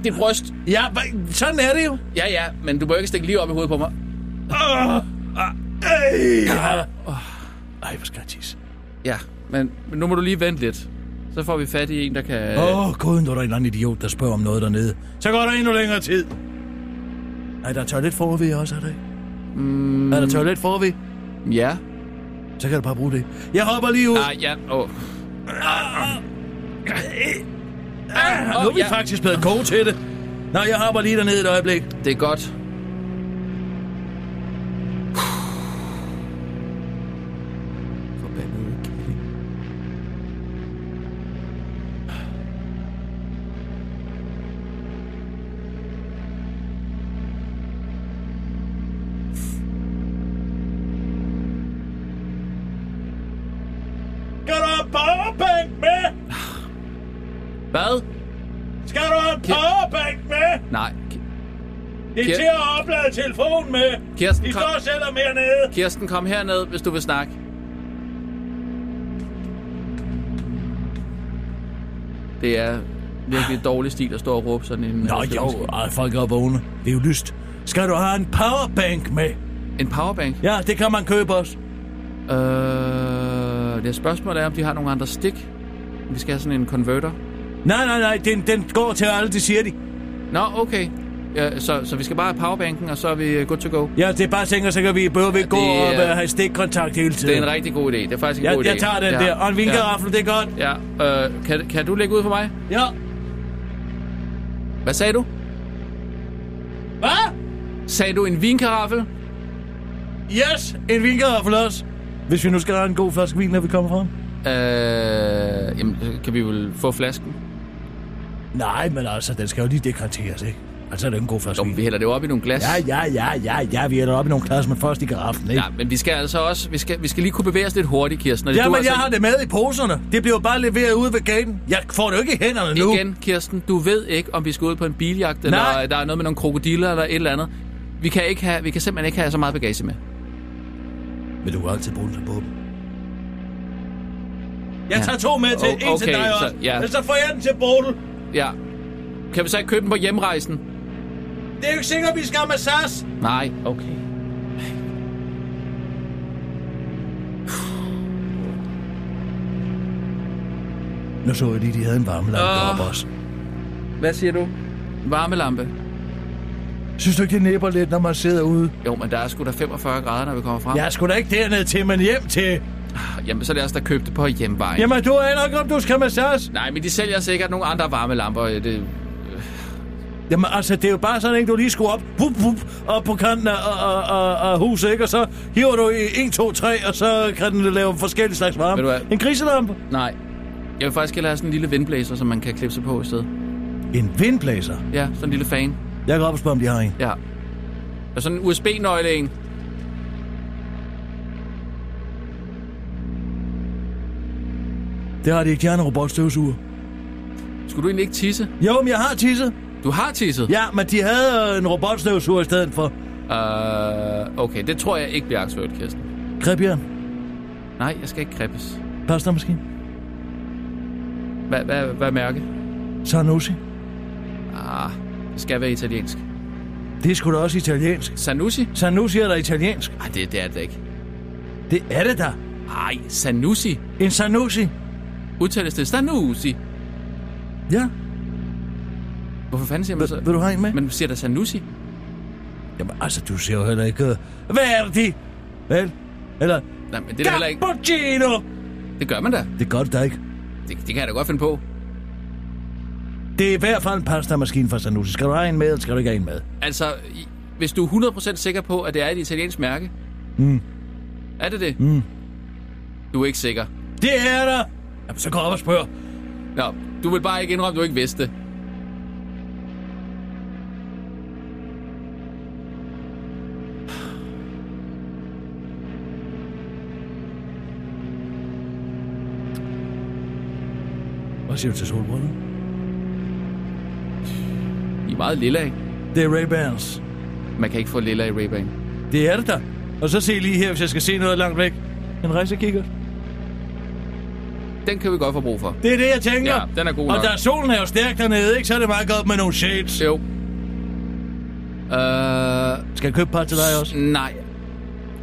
S2: dit bryst.
S6: Ja, hva- sådan er det jo.
S2: Ja, ja, men du må ikke stikke lige op i hovedet på mig.
S6: Øh. Ej, Ej hvor skal jeg tisse.
S2: Ja, men, men nu må du lige vente lidt. Så får vi fat i en, der kan...
S6: Åh, oh, gud, nu er der en eller anden idiot, der spørger om noget dernede. Så går der endnu længere tid. Nej, der er toilet forved også, er der ikke? Mm. Er der toilet forved?
S2: Ja.
S6: Så kan du bare bruge det. Jeg hopper lige ud. Ah,
S2: Nej, ja, åh. Oh.
S6: nu er vi
S2: ja.
S6: faktisk blevet gode til det. Nej, jeg hopper lige dernede et øjeblik.
S2: Det er godt.
S6: Skal du have powerbank med?
S2: Hvad?
S6: Skal du have
S2: Ki-
S6: powerbank med?
S2: Nej.
S6: Det
S2: Ki-
S6: at oplade telefonen med.
S2: Kirsten, kom.
S6: selv og mere nede.
S2: Kirsten, kom herned, hvis du vil snakke. Det er virkelig dårlig stil at stå og råbe sådan en...
S6: Nå
S2: øh,
S6: jo,
S2: stemmeskade.
S6: ej, folk er vågne. Det er jo lyst. Skal du have en powerbank med?
S2: En powerbank?
S6: Ja, det kan man købe også.
S2: Øh, det spørgsmålet er, om de har nogle andre stik. Vi skal have sådan en converter.
S6: Nej, nej, nej, den, den går til alle, det siger de.
S2: Nå, okay. Ja, så, så vi skal bare have powerbanken, og så er vi øh, good to go.
S6: Ja, det er bare tænker, så kan vi behøve ikke gå
S2: det
S6: og
S2: er-
S6: øh, have stikkontakt hele tiden.
S2: Det er en rigtig god idé. Det er faktisk en Altså, god
S6: jeg,
S2: idé.
S6: jeg tager den der. Og en vinkeraffel, det er godt.
S2: Ja, ja. Øh, kan, kan du lægge ud for mig?
S6: Ja.
S2: Hvad sagde du?
S6: Hvad?
S2: Sagde du en vinkaraffel?
S6: Yes, en vinkeraffel også. Hvis vi nu skal have en god flaske vin, når vi kommer frem.
S2: Øh, jamen, så kan vi vel få flasken?
S6: Nej, men altså, den skal jo lige dekanteres, ikke? Altså, er det er en god flaske
S2: Jo,
S6: vin.
S2: men vi hælder det jo op i nogle glas.
S6: Ja, ja, ja, ja, ja, vi er deroppe i nogle klasser, men først i garaffen, ikke?
S2: ja men vi skal altså også... Vi skal, vi skal lige kunne bevæge os lidt hurtigt, Kirsten. og det-
S6: Ja,
S2: du
S6: men
S2: altså
S6: jeg har det med i poserne. Det bliver jo bare leveret ude ved gaden. Jeg får det jo ikke i hænderne nu.
S2: Igen, Kirsten, du ved ikke, om vi skal ud på en biljagt, eller
S6: Nej.
S2: der er noget med nogle krokodiller, eller et eller andet. Vi kan, ikke have, vi kan simpelthen ikke have så meget bagage med.
S6: Men du kan altid bruge den som våben. Jeg
S2: Ja.
S6: tager to med til.
S2: O-
S6: en til
S2: okay,
S6: dig
S2: så-
S6: også.
S2: ja.
S6: Men så får jeg den til Bodil.
S2: Ja. Kan vi så ikke købe den på hjemrejsen?
S6: Det er jo ikke sikkert, vi skal med SAS.
S2: Nej, okay.
S6: Nu så jeg lige, de havde en varme lampe
S2: Åh.
S6: deroppe også.
S2: Hvad siger du? Varmelampe.
S6: Synes du ikke, det næber lidt, når man sidder ude?
S2: Jo, men der er sgu da 45 grader, når vi kommer frem.
S6: Jeg er sgu da ikke dernede til, men hjem til.
S2: Ah, Jamen, så lad os da købe det på hjemvejen.
S6: Jamen, du aner ikke, om du skal med SAS.
S2: Nej, men de sælger sikkert nogle andre varmelamper. øh, Det... øh,
S6: Jamen altså, det er jo bare sådan, at du lige skulle op, hup, hup, op på kanten af, af, af, af huset, ikke? Og så hiver du i 1, 2, 3, og så kan den lave forskellige slags varme.
S2: Ved du hvad?
S6: En griselampe.
S2: Nej. Jeg vil faktisk hellere have sådan en lille vindblæser, som man kan klippe sig på i stedet.
S6: En vindblæser.
S2: Ja, sådan en lille fan.
S6: Jeg kan op og spørge, om de har en.
S2: Ja. Og sådan en USB-nøgle en.
S6: Det har de ikke. De har en robotstøvsuger.
S2: Skulle du egentlig ikke tisse?
S6: Jo, men jeg har tisset.
S2: Du har tisset?
S6: Ja, men de havde øh, en robotstøvsuger i stedet for.
S2: Øh, okay, det tror jeg ikke bliver aktuelt, Kirsten.
S6: Krebjørn.
S2: Nej, jeg skal ikke kreppes.
S6: Pastamaskine.
S2: Hvad, hvad, hvad mærke?
S6: Sanusi.
S2: Ah, det skal være italiensk.
S6: Det er sgu da også italiensk.
S2: Sanusi?
S6: Sanusi er da italiensk.
S2: Nej, det, det er det ikke.
S6: Det er det da.
S2: Ej, Sanusi.
S6: En Sanusi.
S2: Udtales det Sanusi?
S6: Ja.
S2: Hvorfor fanden siger man
S6: Vil,
S2: så?
S6: vil du have en med?
S2: Man siger da Sanusi.
S6: Jamen altså, du ser jo heller ikke... øh, Hvad er det? de- Vel? Eller...
S2: Nej, men det er der heller ikke.
S6: Cappuccino!
S2: Det gør man da.
S6: Det gør det da ikke.
S2: Det, det kan jeg da godt finde på.
S6: Det er i hvert fald en pastamaskine fra Sanusi. Skal du have en med, eller skal du ikke have en med?
S2: Altså, i- hvis du er 100% sikker på, at det er et italiensk mærke. Mm. Er det det?
S6: Mm.
S2: Du er ikke sikker.
S6: Det er der! Jamen, så gå op og spørg.
S2: Nå, du vil bare ikke indrømme, at du ikke vidste det.
S6: Hvad siger du til solbrønden?
S2: I er meget lilla, ikke?
S6: Det er Ray-Bans.
S2: Man kan ikke få lilla i Ray-Ban.
S6: Det er det da. Og så se lige her, hvis jeg skal se noget langt væk. En rejsekikker.
S2: Den kan vi godt få brug for.
S6: Det er det, jeg tænker.
S2: Ja, den er god
S6: Og
S2: nok.
S6: der solen er jo stærk dernede, ikke? Så er det meget godt med nogle shades.
S2: Jo. Øh,
S6: Skal jeg købe et par til dig også?
S2: nej.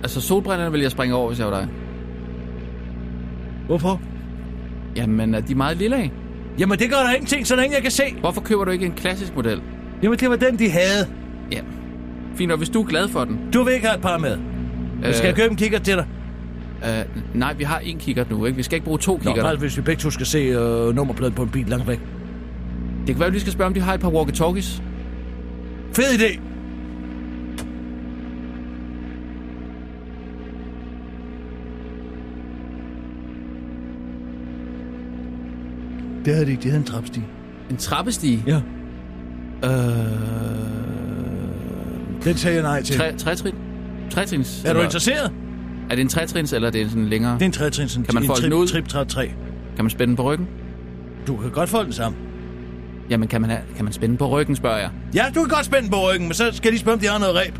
S2: Altså, solbrillerne vil jeg springe over, hvis jeg var dig.
S6: Hvorfor?
S2: Jamen, er de meget lilla af?
S6: Jamen, det gør der ingenting, så længe jeg kan se.
S2: Hvorfor køber du ikke en klassisk model?
S6: Jamen, det var den, de havde.
S2: Ja. Fint, og hvis du er glad for den...
S6: Du vil ikke have et par med. Øh... Skal jeg købe en kikker til dig?
S2: Øh, nej, vi har en kikkert nu, ikke? Vi skal ikke bruge to
S6: Nå,
S2: kikkerter.
S6: bare hvis vi begge to skal se øh, nummerpladen på en bil langt væk.
S2: Det kan være, at vi lige skal spørge, om de har et par walkie-talkies.
S6: Fed idé! Det havde de ikke. De havde en trappestige.
S2: En trappestige?
S6: Ja.
S2: Øh...
S6: Den sagde jeg nej til.
S2: Tre, trætrin? Trætrins?
S6: Er du
S2: eller-
S6: interesseret?
S2: Er det en trætrins, eller er det en sådan længere?
S6: Det er en trætrins.
S2: Kan man
S6: en
S2: folde
S6: trip,
S2: den ud?
S6: Trip, træt, træ.
S2: Kan man spænde den på ryggen?
S6: Du kan godt folde den sammen.
S2: Jamen, kan man, have, kan man spænde den på ryggen, spørger jeg.
S6: Ja, du kan godt spænde den på ryggen, men så skal jeg lige spørge, om de har noget ræb.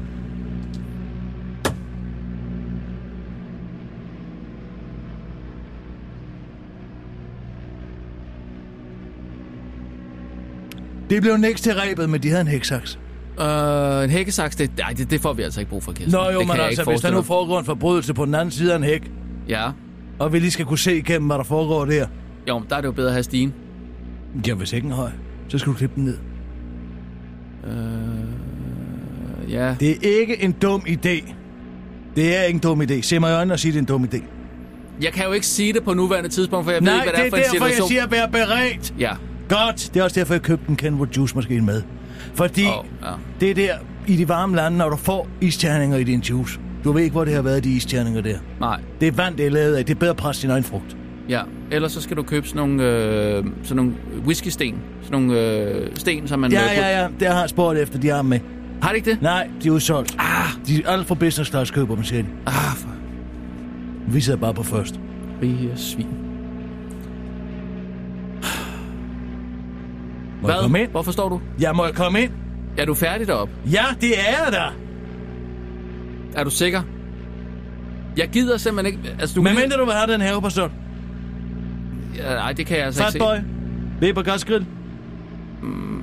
S6: Det blev næst til rebet, men de havde en heksaks.
S2: Øh, en hækkesaks, det, nej, det, det får vi altså ikke brug for, Kirsten.
S6: Nå jo,
S2: det
S6: men
S2: kan jeg
S6: altså,
S2: ikke
S6: hvis der
S2: forestille
S6: nu
S2: mig.
S6: foregår en forbrydelse på den anden side af en hæk,
S2: Ja,
S6: og vi lige skal kunne se igennem, hvad der foregår der.
S2: jo, men der er det jo bedre at have stigen.
S6: Jamen, hvis ikke en høj, så skal du klippe den ned.
S2: Øh, Ja,
S6: Det er ikke en dum idé. Det er ikke en dum idé. Se mig i øjnene og sig, det er en dum idé.
S2: jeg kan jo ikke sige det på nuværende tidspunkt, for jeg
S6: Nej,
S2: ved ikke, hvad
S6: det
S2: det
S6: er
S2: er for en
S6: derfor, jeg
S2: situation.
S6: siger, at være beredt.
S2: Ja,
S6: Godt. Det er også derfor, jeg købte en Kenwood Juice-maskine med. Fordi
S2: Åh, ja.
S6: det er der i de varme lande, når du får isterninger i din juice. Du ved ikke, hvor det har været, de isterninger der.
S2: nej,
S6: Det er vand, det er lavet af. Det er bedre at presse din egen frugt.
S2: ja. Ellers så skal du købe sådan nogle, øh, sådan nogle whiskysten. Sådan nogle øh, sten, som man...
S6: Ja,
S2: øh, putter-
S6: ja, ja. Det har jeg spurgt efter, de har dem med.
S2: Har det ikke det?
S6: Nej, de er udsolgt. Ah. De er alt for business class køber dem, siger de.
S2: Ah, for
S6: Vi sidder bare på først.
S2: rige svin.
S6: Må jeg komme ind?
S2: Hvorfor står du?
S6: Ja, må jeg komme ind?
S2: Er du færdig deroppe?
S6: Ja, det er jeg da.
S2: Er du sikker? Jeg gider simpelthen ikke... Altså, du
S6: Men
S2: kan
S6: mindre du vil have den have på stund.
S2: lige- Ja, Nej, det kan jeg altså ikke
S6: Fatboy. Weber gasgrill.
S2: se.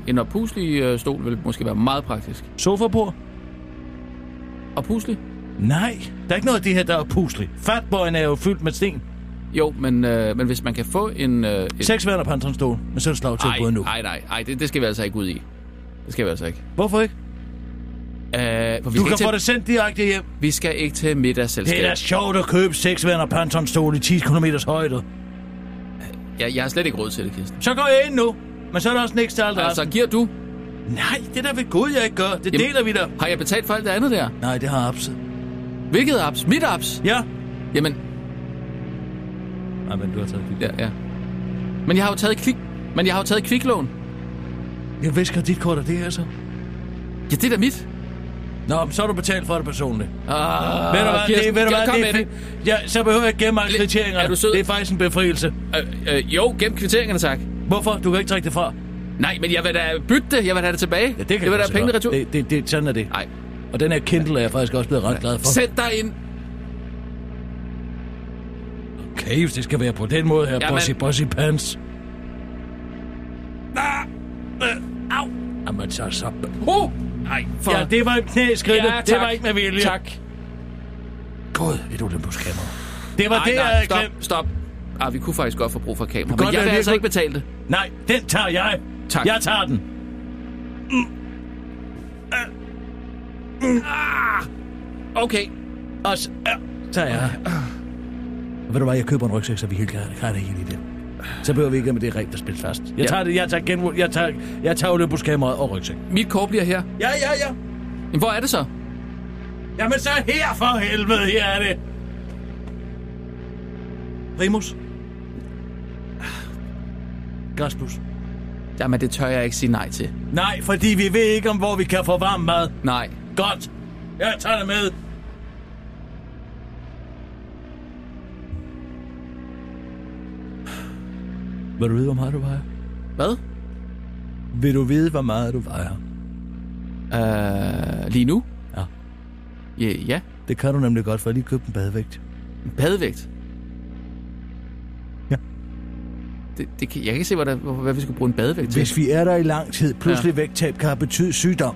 S2: En oppuslig øh, stol vil måske være meget praktisk.
S6: Sofabord.
S2: Oppuslig?
S6: Nej, der er ikke noget af det her, der er pusligt. Fatboyen er jo fyldt med sten.
S2: Jo, men, øh, men hvis man kan få en... Øh, et...
S6: Seks værter på Antons stol, men så er det slag til både nu.
S2: nej, nej, nej, det, det skal vi altså ikke ud i. Det skal vi altså ikke.
S6: Hvorfor ikke?
S2: Øh, for vi,
S6: Du
S2: skal
S6: kan
S2: ikke
S6: få
S2: til,
S6: det sendt direkte hjem.
S2: vi skal ikke til
S6: Det
S2: middagsselskab.
S6: er da sjovt at købe seks værter på Antons stol i 10 km højde.
S2: jeg, jeg har slet ikke råd til det, Kirsten.
S6: Så går jeg ind nu, men så er der også en ekstra aldrig.
S2: Altså, giver du?
S6: Nej, det er da ved Gud, jeg ikke gør. Det
S10: Jamen-
S6: deler vi da.
S10: Har jeg betalt for alt det andet der?
S6: Nej, det har Abse.
S10: Hvilket apps? Mit apps?
S6: Ja.
S10: Jamen,
S6: Nej, men du har taget
S10: ja, ja. Men jeg har jo taget kvik... Men jeg har jo taget kviklån.
S6: Jeg visker dit kort af det her, så.
S10: Ja, det er da mit.
S6: Nå, men så har du betalt for det personligt.
S10: Ah,
S6: Ved du hvad,
S10: Kirsten,
S6: det, ved du
S10: kom-
S6: hvad,
S10: kom
S6: det, er
S10: med
S6: fe- Ja, så behøver jeg ikke gemme alle
S10: Lidt-
S6: kvitteringerne.
S10: er du sød?
S6: Det er faktisk en befrielse.
S10: det. Øh, øh, jo, gem kvitteringerne, tak.
S6: Hvorfor? Du kan ikke trække det fra.
S10: Nej, men jeg vil da bytte det. Jeg vil da have det tilbage.
S6: Ja, det kan
S10: jeg vil da
S6: lade
S10: have
S6: sig
S10: pengene
S6: gøre.
S10: retur.
S6: Det, det, det, sådan er det.
S10: Nej.
S6: Og den her Kindle er jeg faktisk også blevet ret glad for.
S10: Sæt dig ind.
S6: Okay, hvis det skal være på den måde her,
S10: Jamen.
S6: bossy, bossy pants. Ah, øh, au. Jamen, så så...
S10: Oh! Nej, for...
S6: Ja, det var en knæskridte.
S10: Ja,
S6: det
S10: tak.
S6: var ikke med vilje.
S10: Tak.
S6: Gud, et Olympus-kamera. Det var
S10: Ej,
S6: det, jeg
S10: nej,
S6: havde
S10: stop,
S6: glemt.
S10: stop. Ah, vi kunne faktisk godt få brug for kamera,
S6: godt
S10: men jeg
S6: være
S10: vil altså
S6: virkelig-
S10: ikke betale det.
S6: Nej, den tager jeg.
S10: Tak.
S6: Jeg tager den. Mm.
S10: Okay.
S6: Og så ja, tager jeg. Ved du hvad, jeg køber en rygsæk, så vi helt klart har det hele i det. Så behøver vi ikke med det rent at spille fast. Jeg
S10: Ja.
S6: tager det, jeg tager, genbrug, jeg tager, jeg tager Olympus-kameraet og rygsæk.
S10: Mit kort bliver her.
S6: Ja, ja, ja.
S10: Men hvor er det så?
S6: Jamen så her for helvede, her er det. Primus. Gasplus.
S10: Jamen, det tør jeg ikke sige nej til.
S6: Nej, fordi vi ved ikke, om hvor vi kan få varm mad.
S10: Nej.
S6: Godt. Jeg tager det med. Vil du vide, hvor meget du vejer?
S10: Hvad?
S6: Vil du vide, hvor meget du vejer?
S10: Øh, lige nu?
S6: Ja.
S10: Ja, ja.
S6: Det kan du nemlig godt, for jeg lige købte en badevægt.
S10: En Badevægt?
S6: Ja.
S10: Det, det kan, jeg kan ikke se, hvad, der, hvor- hvad vi skulle bruge en badevægt til.
S6: Hvis vi er der i lang tid, pludselig ja. vægttab kan betyde sygdom.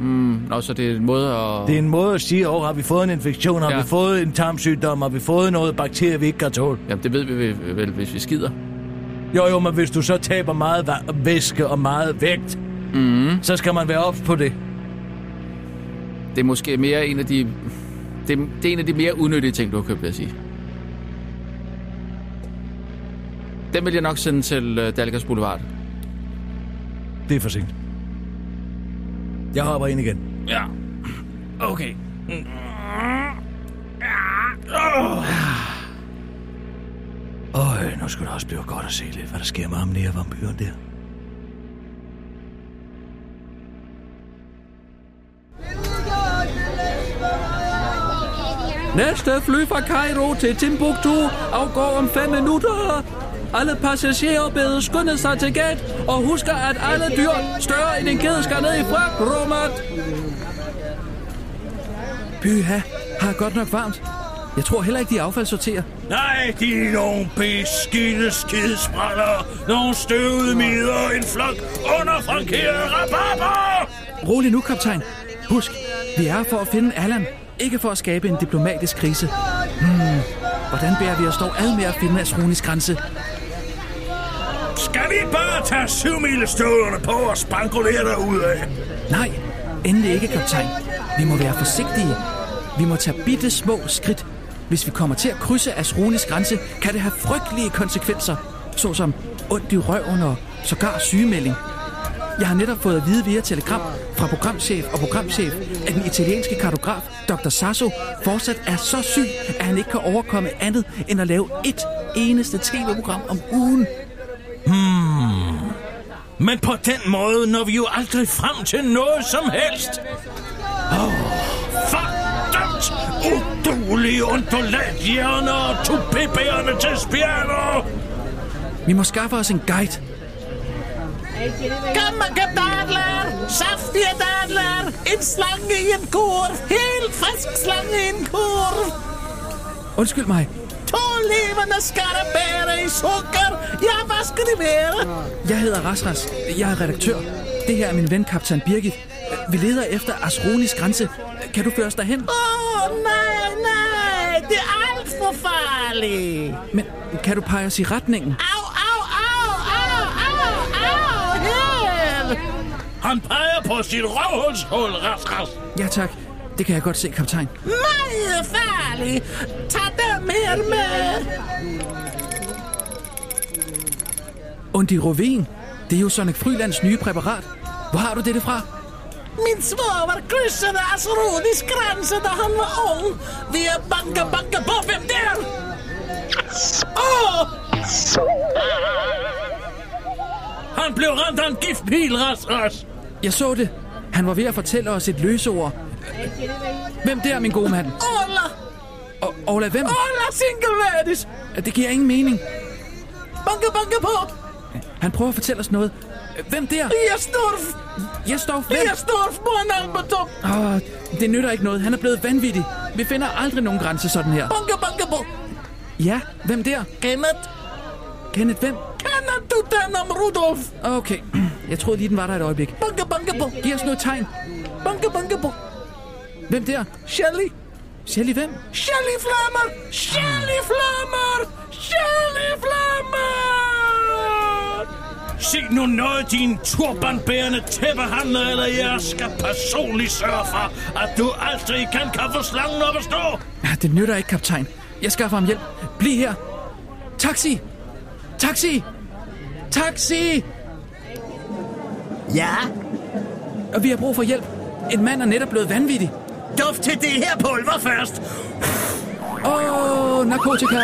S10: Mm, Nå, så det er en måde at...
S6: Det er en måde at sige, åh, har vi fået en infektion, har
S10: Ja.
S6: ja. vi fået en tarmsygdom, har vi fået noget bakterie, vi ikke kan tåle?
S10: Jamen, det ved vi vel, vel, hvis vi skider.
S6: Jo, jo, men hvis du så taber meget va- væske og meget vægt,
S10: Mm-hmm.
S6: mm. så skal man være ops på det.
S10: Det er måske mere en af de... Det, er- det er en af de mere unødige ting, du har købt, vil jeg sige. Den vil jeg nok sende til uh, Dalgas Boulevard.
S6: Det er for sent. Jeg hopper ind igen.
S10: Ja.
S6: Okay.
S11: [sighs]
S6: Øj, nu skulle det også blive godt at se lidt, hvad der sker med ham nede af vampyren der.
S11: Ah.
S10: Næste fly fra Cairo til Timbuktu afgår om 5 minutter. Alle passagerer bedes skynde sig til gate og husker, at alle dyr større end en ged skal ned i fragtrummet.
S2: Byha, har godt nok varmt. Jeg tror heller ikke, de affaldssorterer.
S12: Nej, de er nogle beskidte skidsprætter. Nogle støvede midler. En flok underfrankerede rabarber.
S2: Rolig nu, kaptajn. Husk, vi er her for at finde Allan. Ikke for at skabe en diplomatisk krise. Hmm. Hvordan bærer vi os dog ad med at finde Asronis grænse?
S12: Skal vi bare tage syv støvlerne på og spankulere derudad?
S2: Nej, endelig ikke, kaptajn. Vi må være forsigtige. Vi må tage bitte små skridt. Hvis vi kommer til at krydse Asronis grænse, kan det have frygtelige konsekvenser, såsom ondt i røven og sågar sygemelding. Jeg har netop fået at vide via telegram fra programchef og programchef, at den italienske kartograf, Dr. Sasso, fortsat er så syg, at han ikke kan overkomme andet end at lave et eneste tv-program om ugen.
S12: Hmm.
S6: Men på den måde når vi jo aldrig frem til noget som helst.
S12: Fordømt! Udulige undulatjerne og tupibærende til spjerner!
S2: Vi må skaffe os en guide.
S11: Kom, kadadler! Saftige dadler! En slange i en kurv! Helt frisk slange i en kurv!
S2: Undskyld mig,
S11: To levende skarabærer i sukker! Ja, hvad skal det være?
S2: Jeg hedder Rasras. Jeg er redaktør. Det her er min ven, kaptajn Birgit. Vi leder efter Asronis grænse. Kan du føre os derhen?
S11: Åh, oh, nej, nej! Det er alt for farligt!
S2: Men kan du pege os i retningen?
S11: Au, au, au, au, au, au! Her!
S12: Han peger på sit røvhulshul, ras, ras.
S2: Ja tak. Det kan jeg godt se, kaptajn.
S11: Meget farligt! Tag dem her med!
S2: Undirovin. Det er jo Sonic Frylands nye præparat. Hvor har du dette fra?
S13: Min svoger krydsede Asrodis grænse, da han var ung. Vi er banke, banke på, hvem der? Åh!
S6: Han blev ramt af en giftpil, Rasmus.
S2: Jeg så det. Han var ved at fortælle os et løseord. Hvem der, min gode mand?
S13: Ola!
S2: Og, Ola, hvem?
S13: Ola Singleværdis!
S2: Det giver ingen mening.
S13: Banke, banke på!
S2: Han prøver at fortælle os noget. Hvem der?
S13: Jesdorf!
S2: Jesdorf, hvem?
S13: Jesdorf, mor Albertop!
S2: Åh, det nytter ikke noget. Han er blevet vanvittig. Vi finder aldrig nogen grænse sådan her.
S13: Banke, banke på!
S2: Ja, hvem der?
S13: Kenneth!
S2: Kenneth, hvem?
S13: Kenneth, du den om Rudolf!
S2: Okay, jeg troede lige, den var der et øjeblik.
S13: Banke, banke på!
S2: Giv os noget tegn.
S13: Banke, banke på!
S2: Hvem der?
S13: Shelly!
S2: Shelly, hvem?
S13: Shelly Flammer! Shelly Flammer! Shelly Flammer!
S6: Sig nu noget, din turbanbærende tæppehandler, eller jeg skal personligt sørge for, at du aldrig kan kan få slangen op at stå.
S2: Ja, Det nytter ikke, kaptajn. Jeg skaffer ham hjælp. Bliv her. Taxi! Taxi! Taxi!
S7: Ja,
S2: Og vi har brug for hjælp. En mand er netop blevet vanvittig.
S7: duft til det her pulver først.
S2: Åh, oh, narkotika!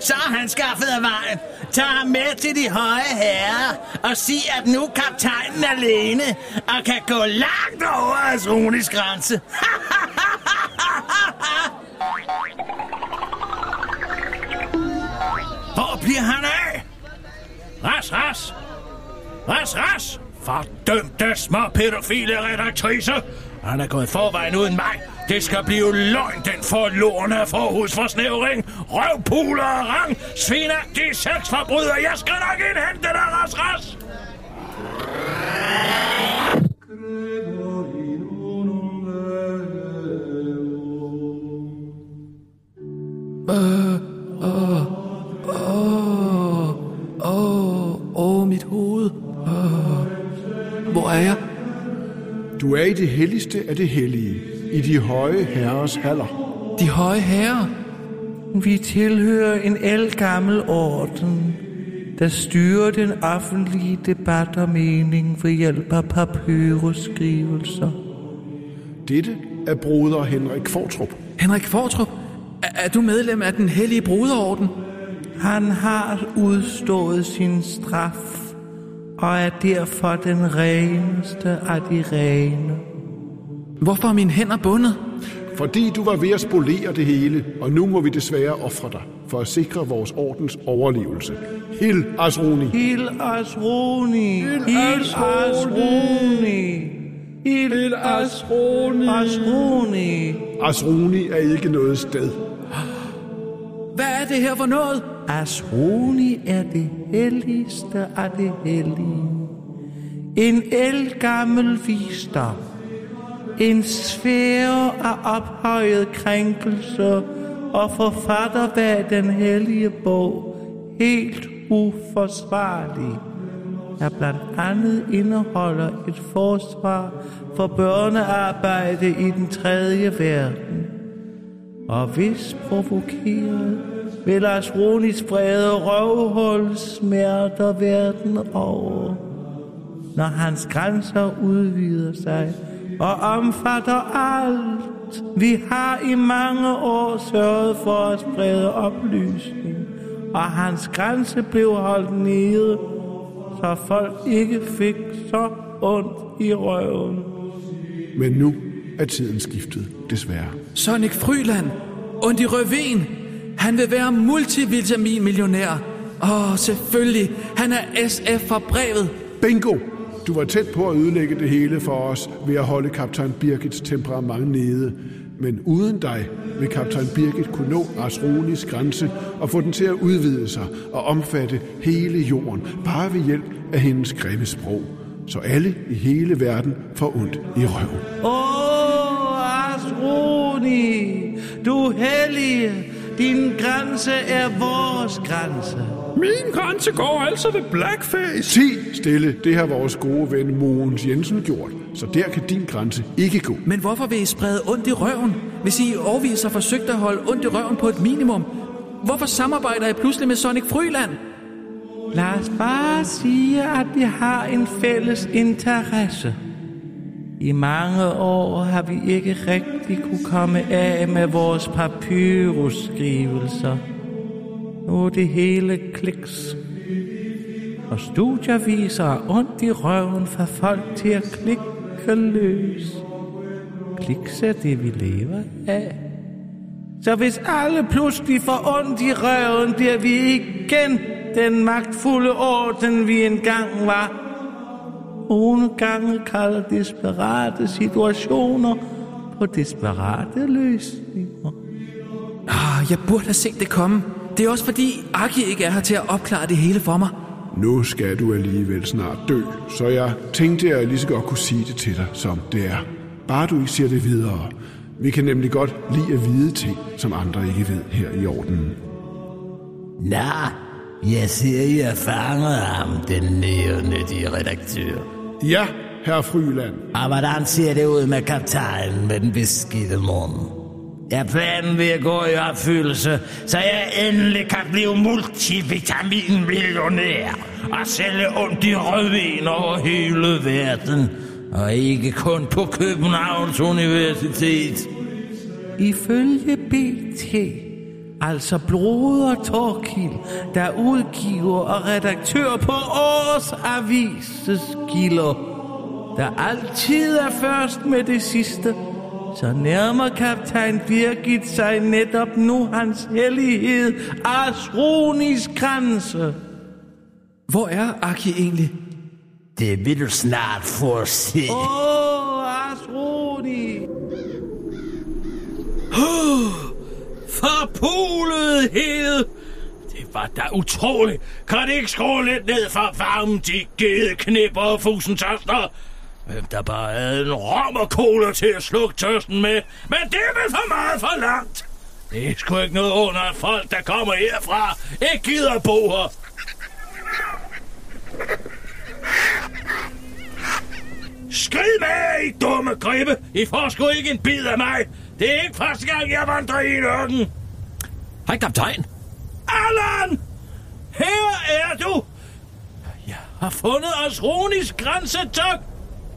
S7: Så er han skaffet af vejen. Tag ham med til de høje herrer og sig, at nu er kaptajnen alene og kan gå langt over Asronis grænse.
S6: Hvor bliver han af? Ras, ras! Ras, ras! Fordømte små pædofile redaktrice! Han er gået forvejen uden mig. Det skal blive løgn, den forlorene forhusforsnævring. Røvpuler og rang. Sviner, de seks forbryder. Jeg skal nok indhente dig, ras, ras!
S2: Åh, åh, åh, åh, åh, mit hoved. Åh. Hvor er jeg?
S14: Du er i det helligste af det hellige, i de høje herres haller.
S2: De høje herrer.
S10: Vi tilhører en elgammel orden, der styrer den offentlige debat og mening ved hjælp af papyrusskrivelser.
S14: Dette er broder Henrik Fortrup.
S2: Henrik Fortrup, er, er du medlem af den hellige broderorden?
S10: Han har udstået sin straf og er derfor den reneste af de rene.
S2: Hvorfor er mine hænder bundet?
S14: Fordi du var ved at spolere det hele, og nu må vi desværre ofre dig for at sikre vores ordens overlevelse. Hil Asroni.
S10: Hil Asroni. Hil Asroni. Hil Asroni. Asroni.
S14: Asroni er ikke noget sted.
S2: Hvad er det her for noget?
S10: Asroni er det helligste af det hellige. En elgammel visdom. En sfære af ophøjet krænkelse og forfatter bag den hellige bog helt uforsvarlig der blandt andet indeholder et forsvar for børnearbejde i den tredje verden. Og hvis provokeret, vil Asronis brede røvhul smerter verden over, når hans grænser udvider sig og omfatter alt. Vi har i mange år sørget for at sprede oplysning, og hans grænse blev holdt nede, så folk ikke fik så ondt i røven.
S14: Men nu er tiden skiftet, desværre.
S2: Sonic Fryland. Und i røven. Han vil være multivitaminmillionær. Åh, oh, selvfølgelig. Han er SF fra brevet.
S14: Bingo! Du var tæt på at ødelægge det hele for os ved at holde kaptajn Birgits temperament nede. Men uden dig vil kaptajn Birgit kunne nå Asronis grænse og få den til at udvide sig og omfatte hele jorden, bare ved hjælp af hendes grimme sprog. Så alle i hele verden får ondt i røven.
S10: Åh, Asroni, du hellige, din grænse er vores grænse.
S14: Min grænse går altså ved blackface. Ti stille, det har vores gode ven Mogens Jensen gjort, så der kan din grænse ikke gå.
S2: Men hvorfor vil I sprede ondt i røven, hvis I i årvis har forsøgt at holde ondt i røven på et minimum? Hvorfor samarbejder I pludselig med Sonic Fryland?
S10: Lad os bare sige, at vi har en fælles interesse. I mange år har vi ikke rigtig kunne komme af med vores papyrusskrivelser. Nu er det hele kliks. Og studier viser ondt i røven for folk til at klikke løs. Kliks er det, vi lever af. Så hvis alle pludselig får ondt i røven, bliver vi igen den magtfulde orden, vi engang var. Nogle gange kalder desperate situationer på desperate løsninger.
S2: Ah, jeg burde have set det komme. Det er også fordi, Aki ikke er her til at opklare det hele for mig.
S14: Nu skal du alligevel snart dø, så jeg tænkte, at jeg lige så godt kunne sige det til dig, som det er. Bare du ikke siger det videre. Vi kan nemlig godt lide at vide ting, som andre ikke ved her i ordenen.
S7: Nå, jeg siger, I har fanget ham, den nævnyttige redaktør.
S14: Ja, herre Fryland.
S7: Og hvordan ser det ud med kaptajnen med den beskidte mund? Er planen ved at gå i opfyldelse, så jeg endelig kan blive multivitaminmillionær og sælge ondt i rødvin over hele verden, og ikke kun på Københavns Universitet.
S10: Ifølge BT, altså Broder Torkil, der er udgiver og redaktør på Års Avises gilder, der altid er først med det sidste, så nærmer kaptajn Birgit sig netop nu hans hellighed, Asronis grænse.
S2: Hvor er Aki egentlig?
S7: Det vil du snart få at se.
S10: Åh, oh, Asroni!
S6: Forpulet hede! Det var da utroligt. Kan det ikke skrue lidt ned for varmen, de gede knipper og fusentørster? Hvem der bare havde en rom og cola til at slukke tørsten med. Men det er vel for meget for langt. Det er sgu ikke noget under, at folk, der kommer herfra, ikke gider bo her. Skrid med jer, I dumme gribe! I får sgu ikke en bid af mig! Det er ikke første gang, jeg vandrer i en ørken!
S1: Hej, kaptajn.
S6: Allan! Her er du! Jeg har fundet os Ronis grænse, tak!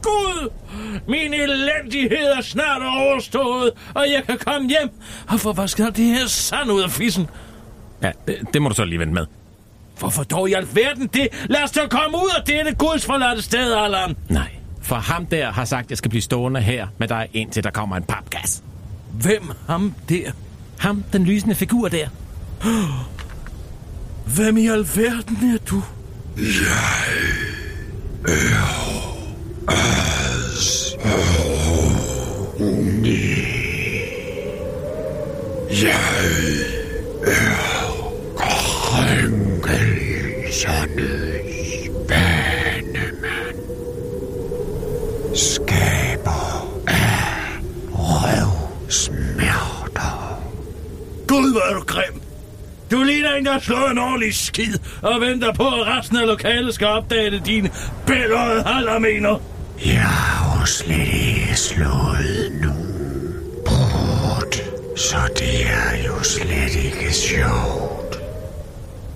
S6: Gud! Min elendighed er snart overstået, og jeg kan komme hjem og få vasket det her sand ud af fissen.
S1: Ja, det, det må du så lige vente med.
S6: Hvorfor dog i alverden det? Lad os da komme ud af dette gudsforladte sted, Allan!
S1: Nej, for ham der har sagt, at jeg skal blive stående her med dig, indtil der kommer en papgas.
S6: Hvem ham der?
S1: Ham, den lysende figur der.
S6: Hvem i alverden er du?
S11: Jeg er krænkelsernes banemand. Skaber af røvsmerter.
S6: Gud, hvor er du grim! Du ligner en, der har slået en ordentlig skid og venter på, at resten af lokalet skal opdage det, din billede hallermener.
S11: Jeg har jo slet ikke slået nogen brud, så det er jo slet ikke sjovt.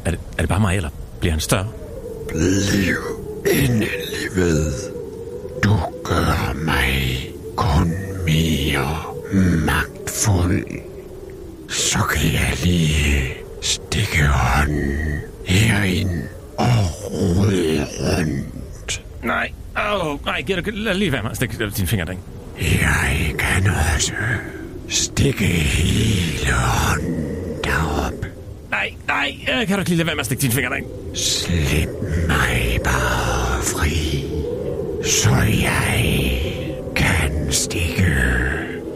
S1: Er det, er det bare mig, eller bliver han større?
S11: Bliv endelig ved. Du gør mig kun mere magtfuld. Så kan jeg lige stikke hånden herind og rode rundt.
S1: Nej. Åh, oh, nej, giver du, lad lige være med at stikke din finger, dreng.
S11: Jeg kan også stikke hele hånden derop.
S1: Nej, nej, øh, kan du ikke lige lade være med at stikke din finger, dreng?
S11: Slip mig bare fri, så jeg kan stikke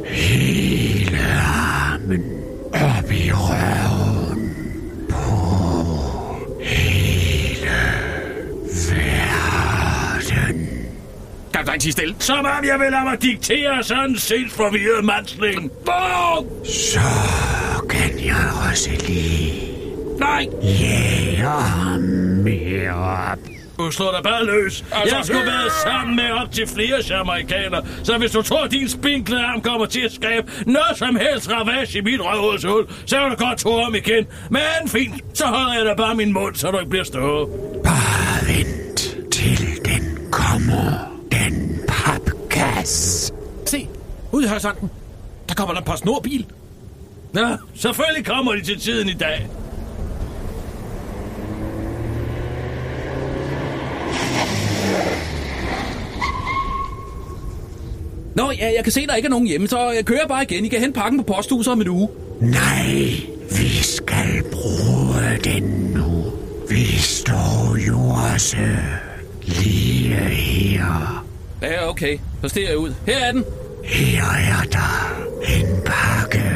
S11: hele armen op i røven på hele verden.
S1: Kaptajn, sig stille.
S6: Som om jeg vil lade mig diktere sådan en sindsforvirret mandsling. Bum!
S11: Så kan jeg også lige
S6: Nej!
S11: jæge ham mere op
S6: Du slår dig bare løs. Altså, jeg
S1: øh.
S6: skulle være sammen med op til flere jamaikanere, så hvis du tror, at din spinkle arm kommer til at skabe noget som helst ravage i mit røvhulshul, så vil du godt tro om igen. Men fint, så holder jeg da bare min mund, så du ikke bliver stået.
S11: Bare vent til den kommer, den papkasse.
S1: Se, ud i horisonten. Der kommer der en postnordbil.
S6: Nå, selvfølgelig kommer de til tiden i dag.
S15: Nå, ja, jeg kan se, der ikke er nogen hjemme, så jeg kører bare igen. I kan hente pakken på posthuset om en uge.
S11: Nej, vi skal bruge den nu. Vi står jo også lige her.
S15: Ja, okay. Så stiger jeg ud. Her er den.
S11: Her er der en pakke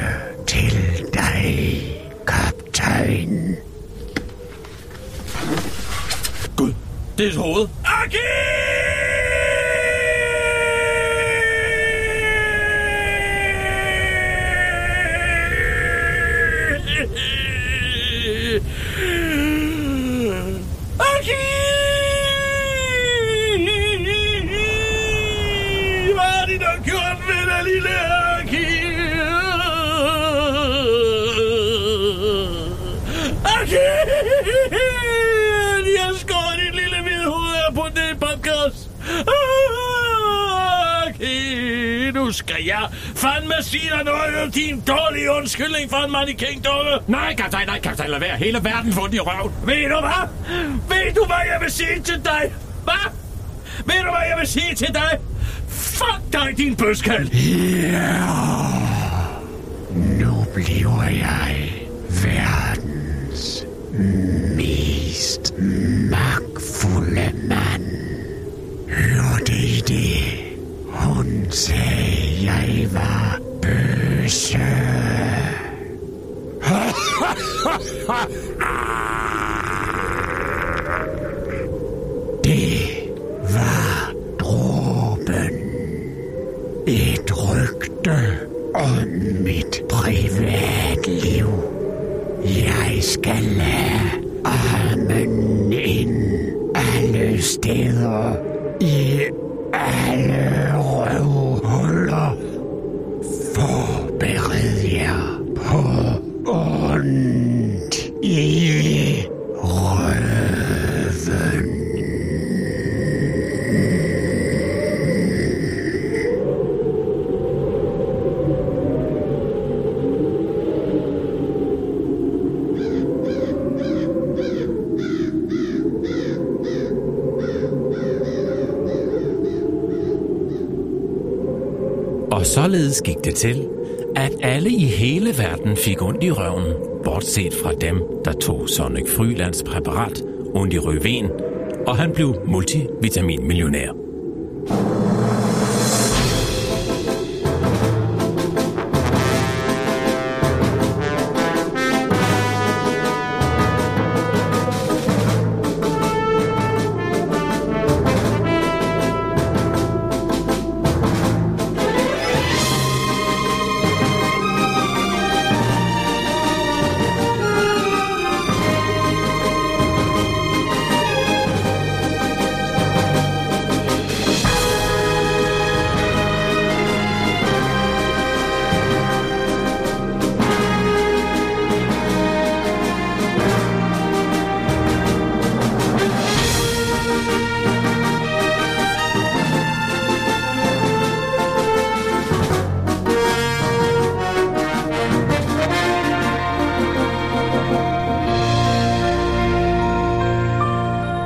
S11: til dig, kaptajn.
S6: Det er hoved. Aki! Aki! Hvad har de dog gjort ved dig, lille Aki? Aki! De har skåret dit lille hvide hoved af på den podcast. Ah, Okay, nu skal jeg fandme sige dig noget om din dårlige undskyldning for en mannequin dukke. Nej, kaptajn, nej, kaptajn, lad være. Hele verden får den i røven. Ved du hvad? Ved du, hvad jeg vil sige til dig? Hvad? Ved du, hvad jeg vil sige til dig? Fuck dig, din bøskal!
S11: Ja, nu bliver jeg verdens mest magtfulde [laughs] mand. Hørte I det? Hun sagde, jeg var bøsse. det var dråben. Et rygte om mit privatliv. Jeg skal have armen ind alle steder i alle røvhuller. Forbered jer på ondt i røven.
S1: Og således gik det til, at alle i hele verden fik ondt i røven, bortset fra dem, der tog Sonic Frylands præparat, ondt i røven, og han blev multivitaminmillionær.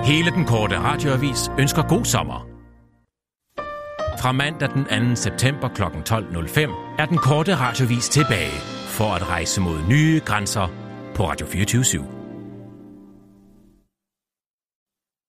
S1: Hele den korte radioavis ønsker god sommer. Fra mandag den 2. september kl. 12.05 er den korte radioavis tilbage for at rejse mod nye grænser på Radio 24 /7.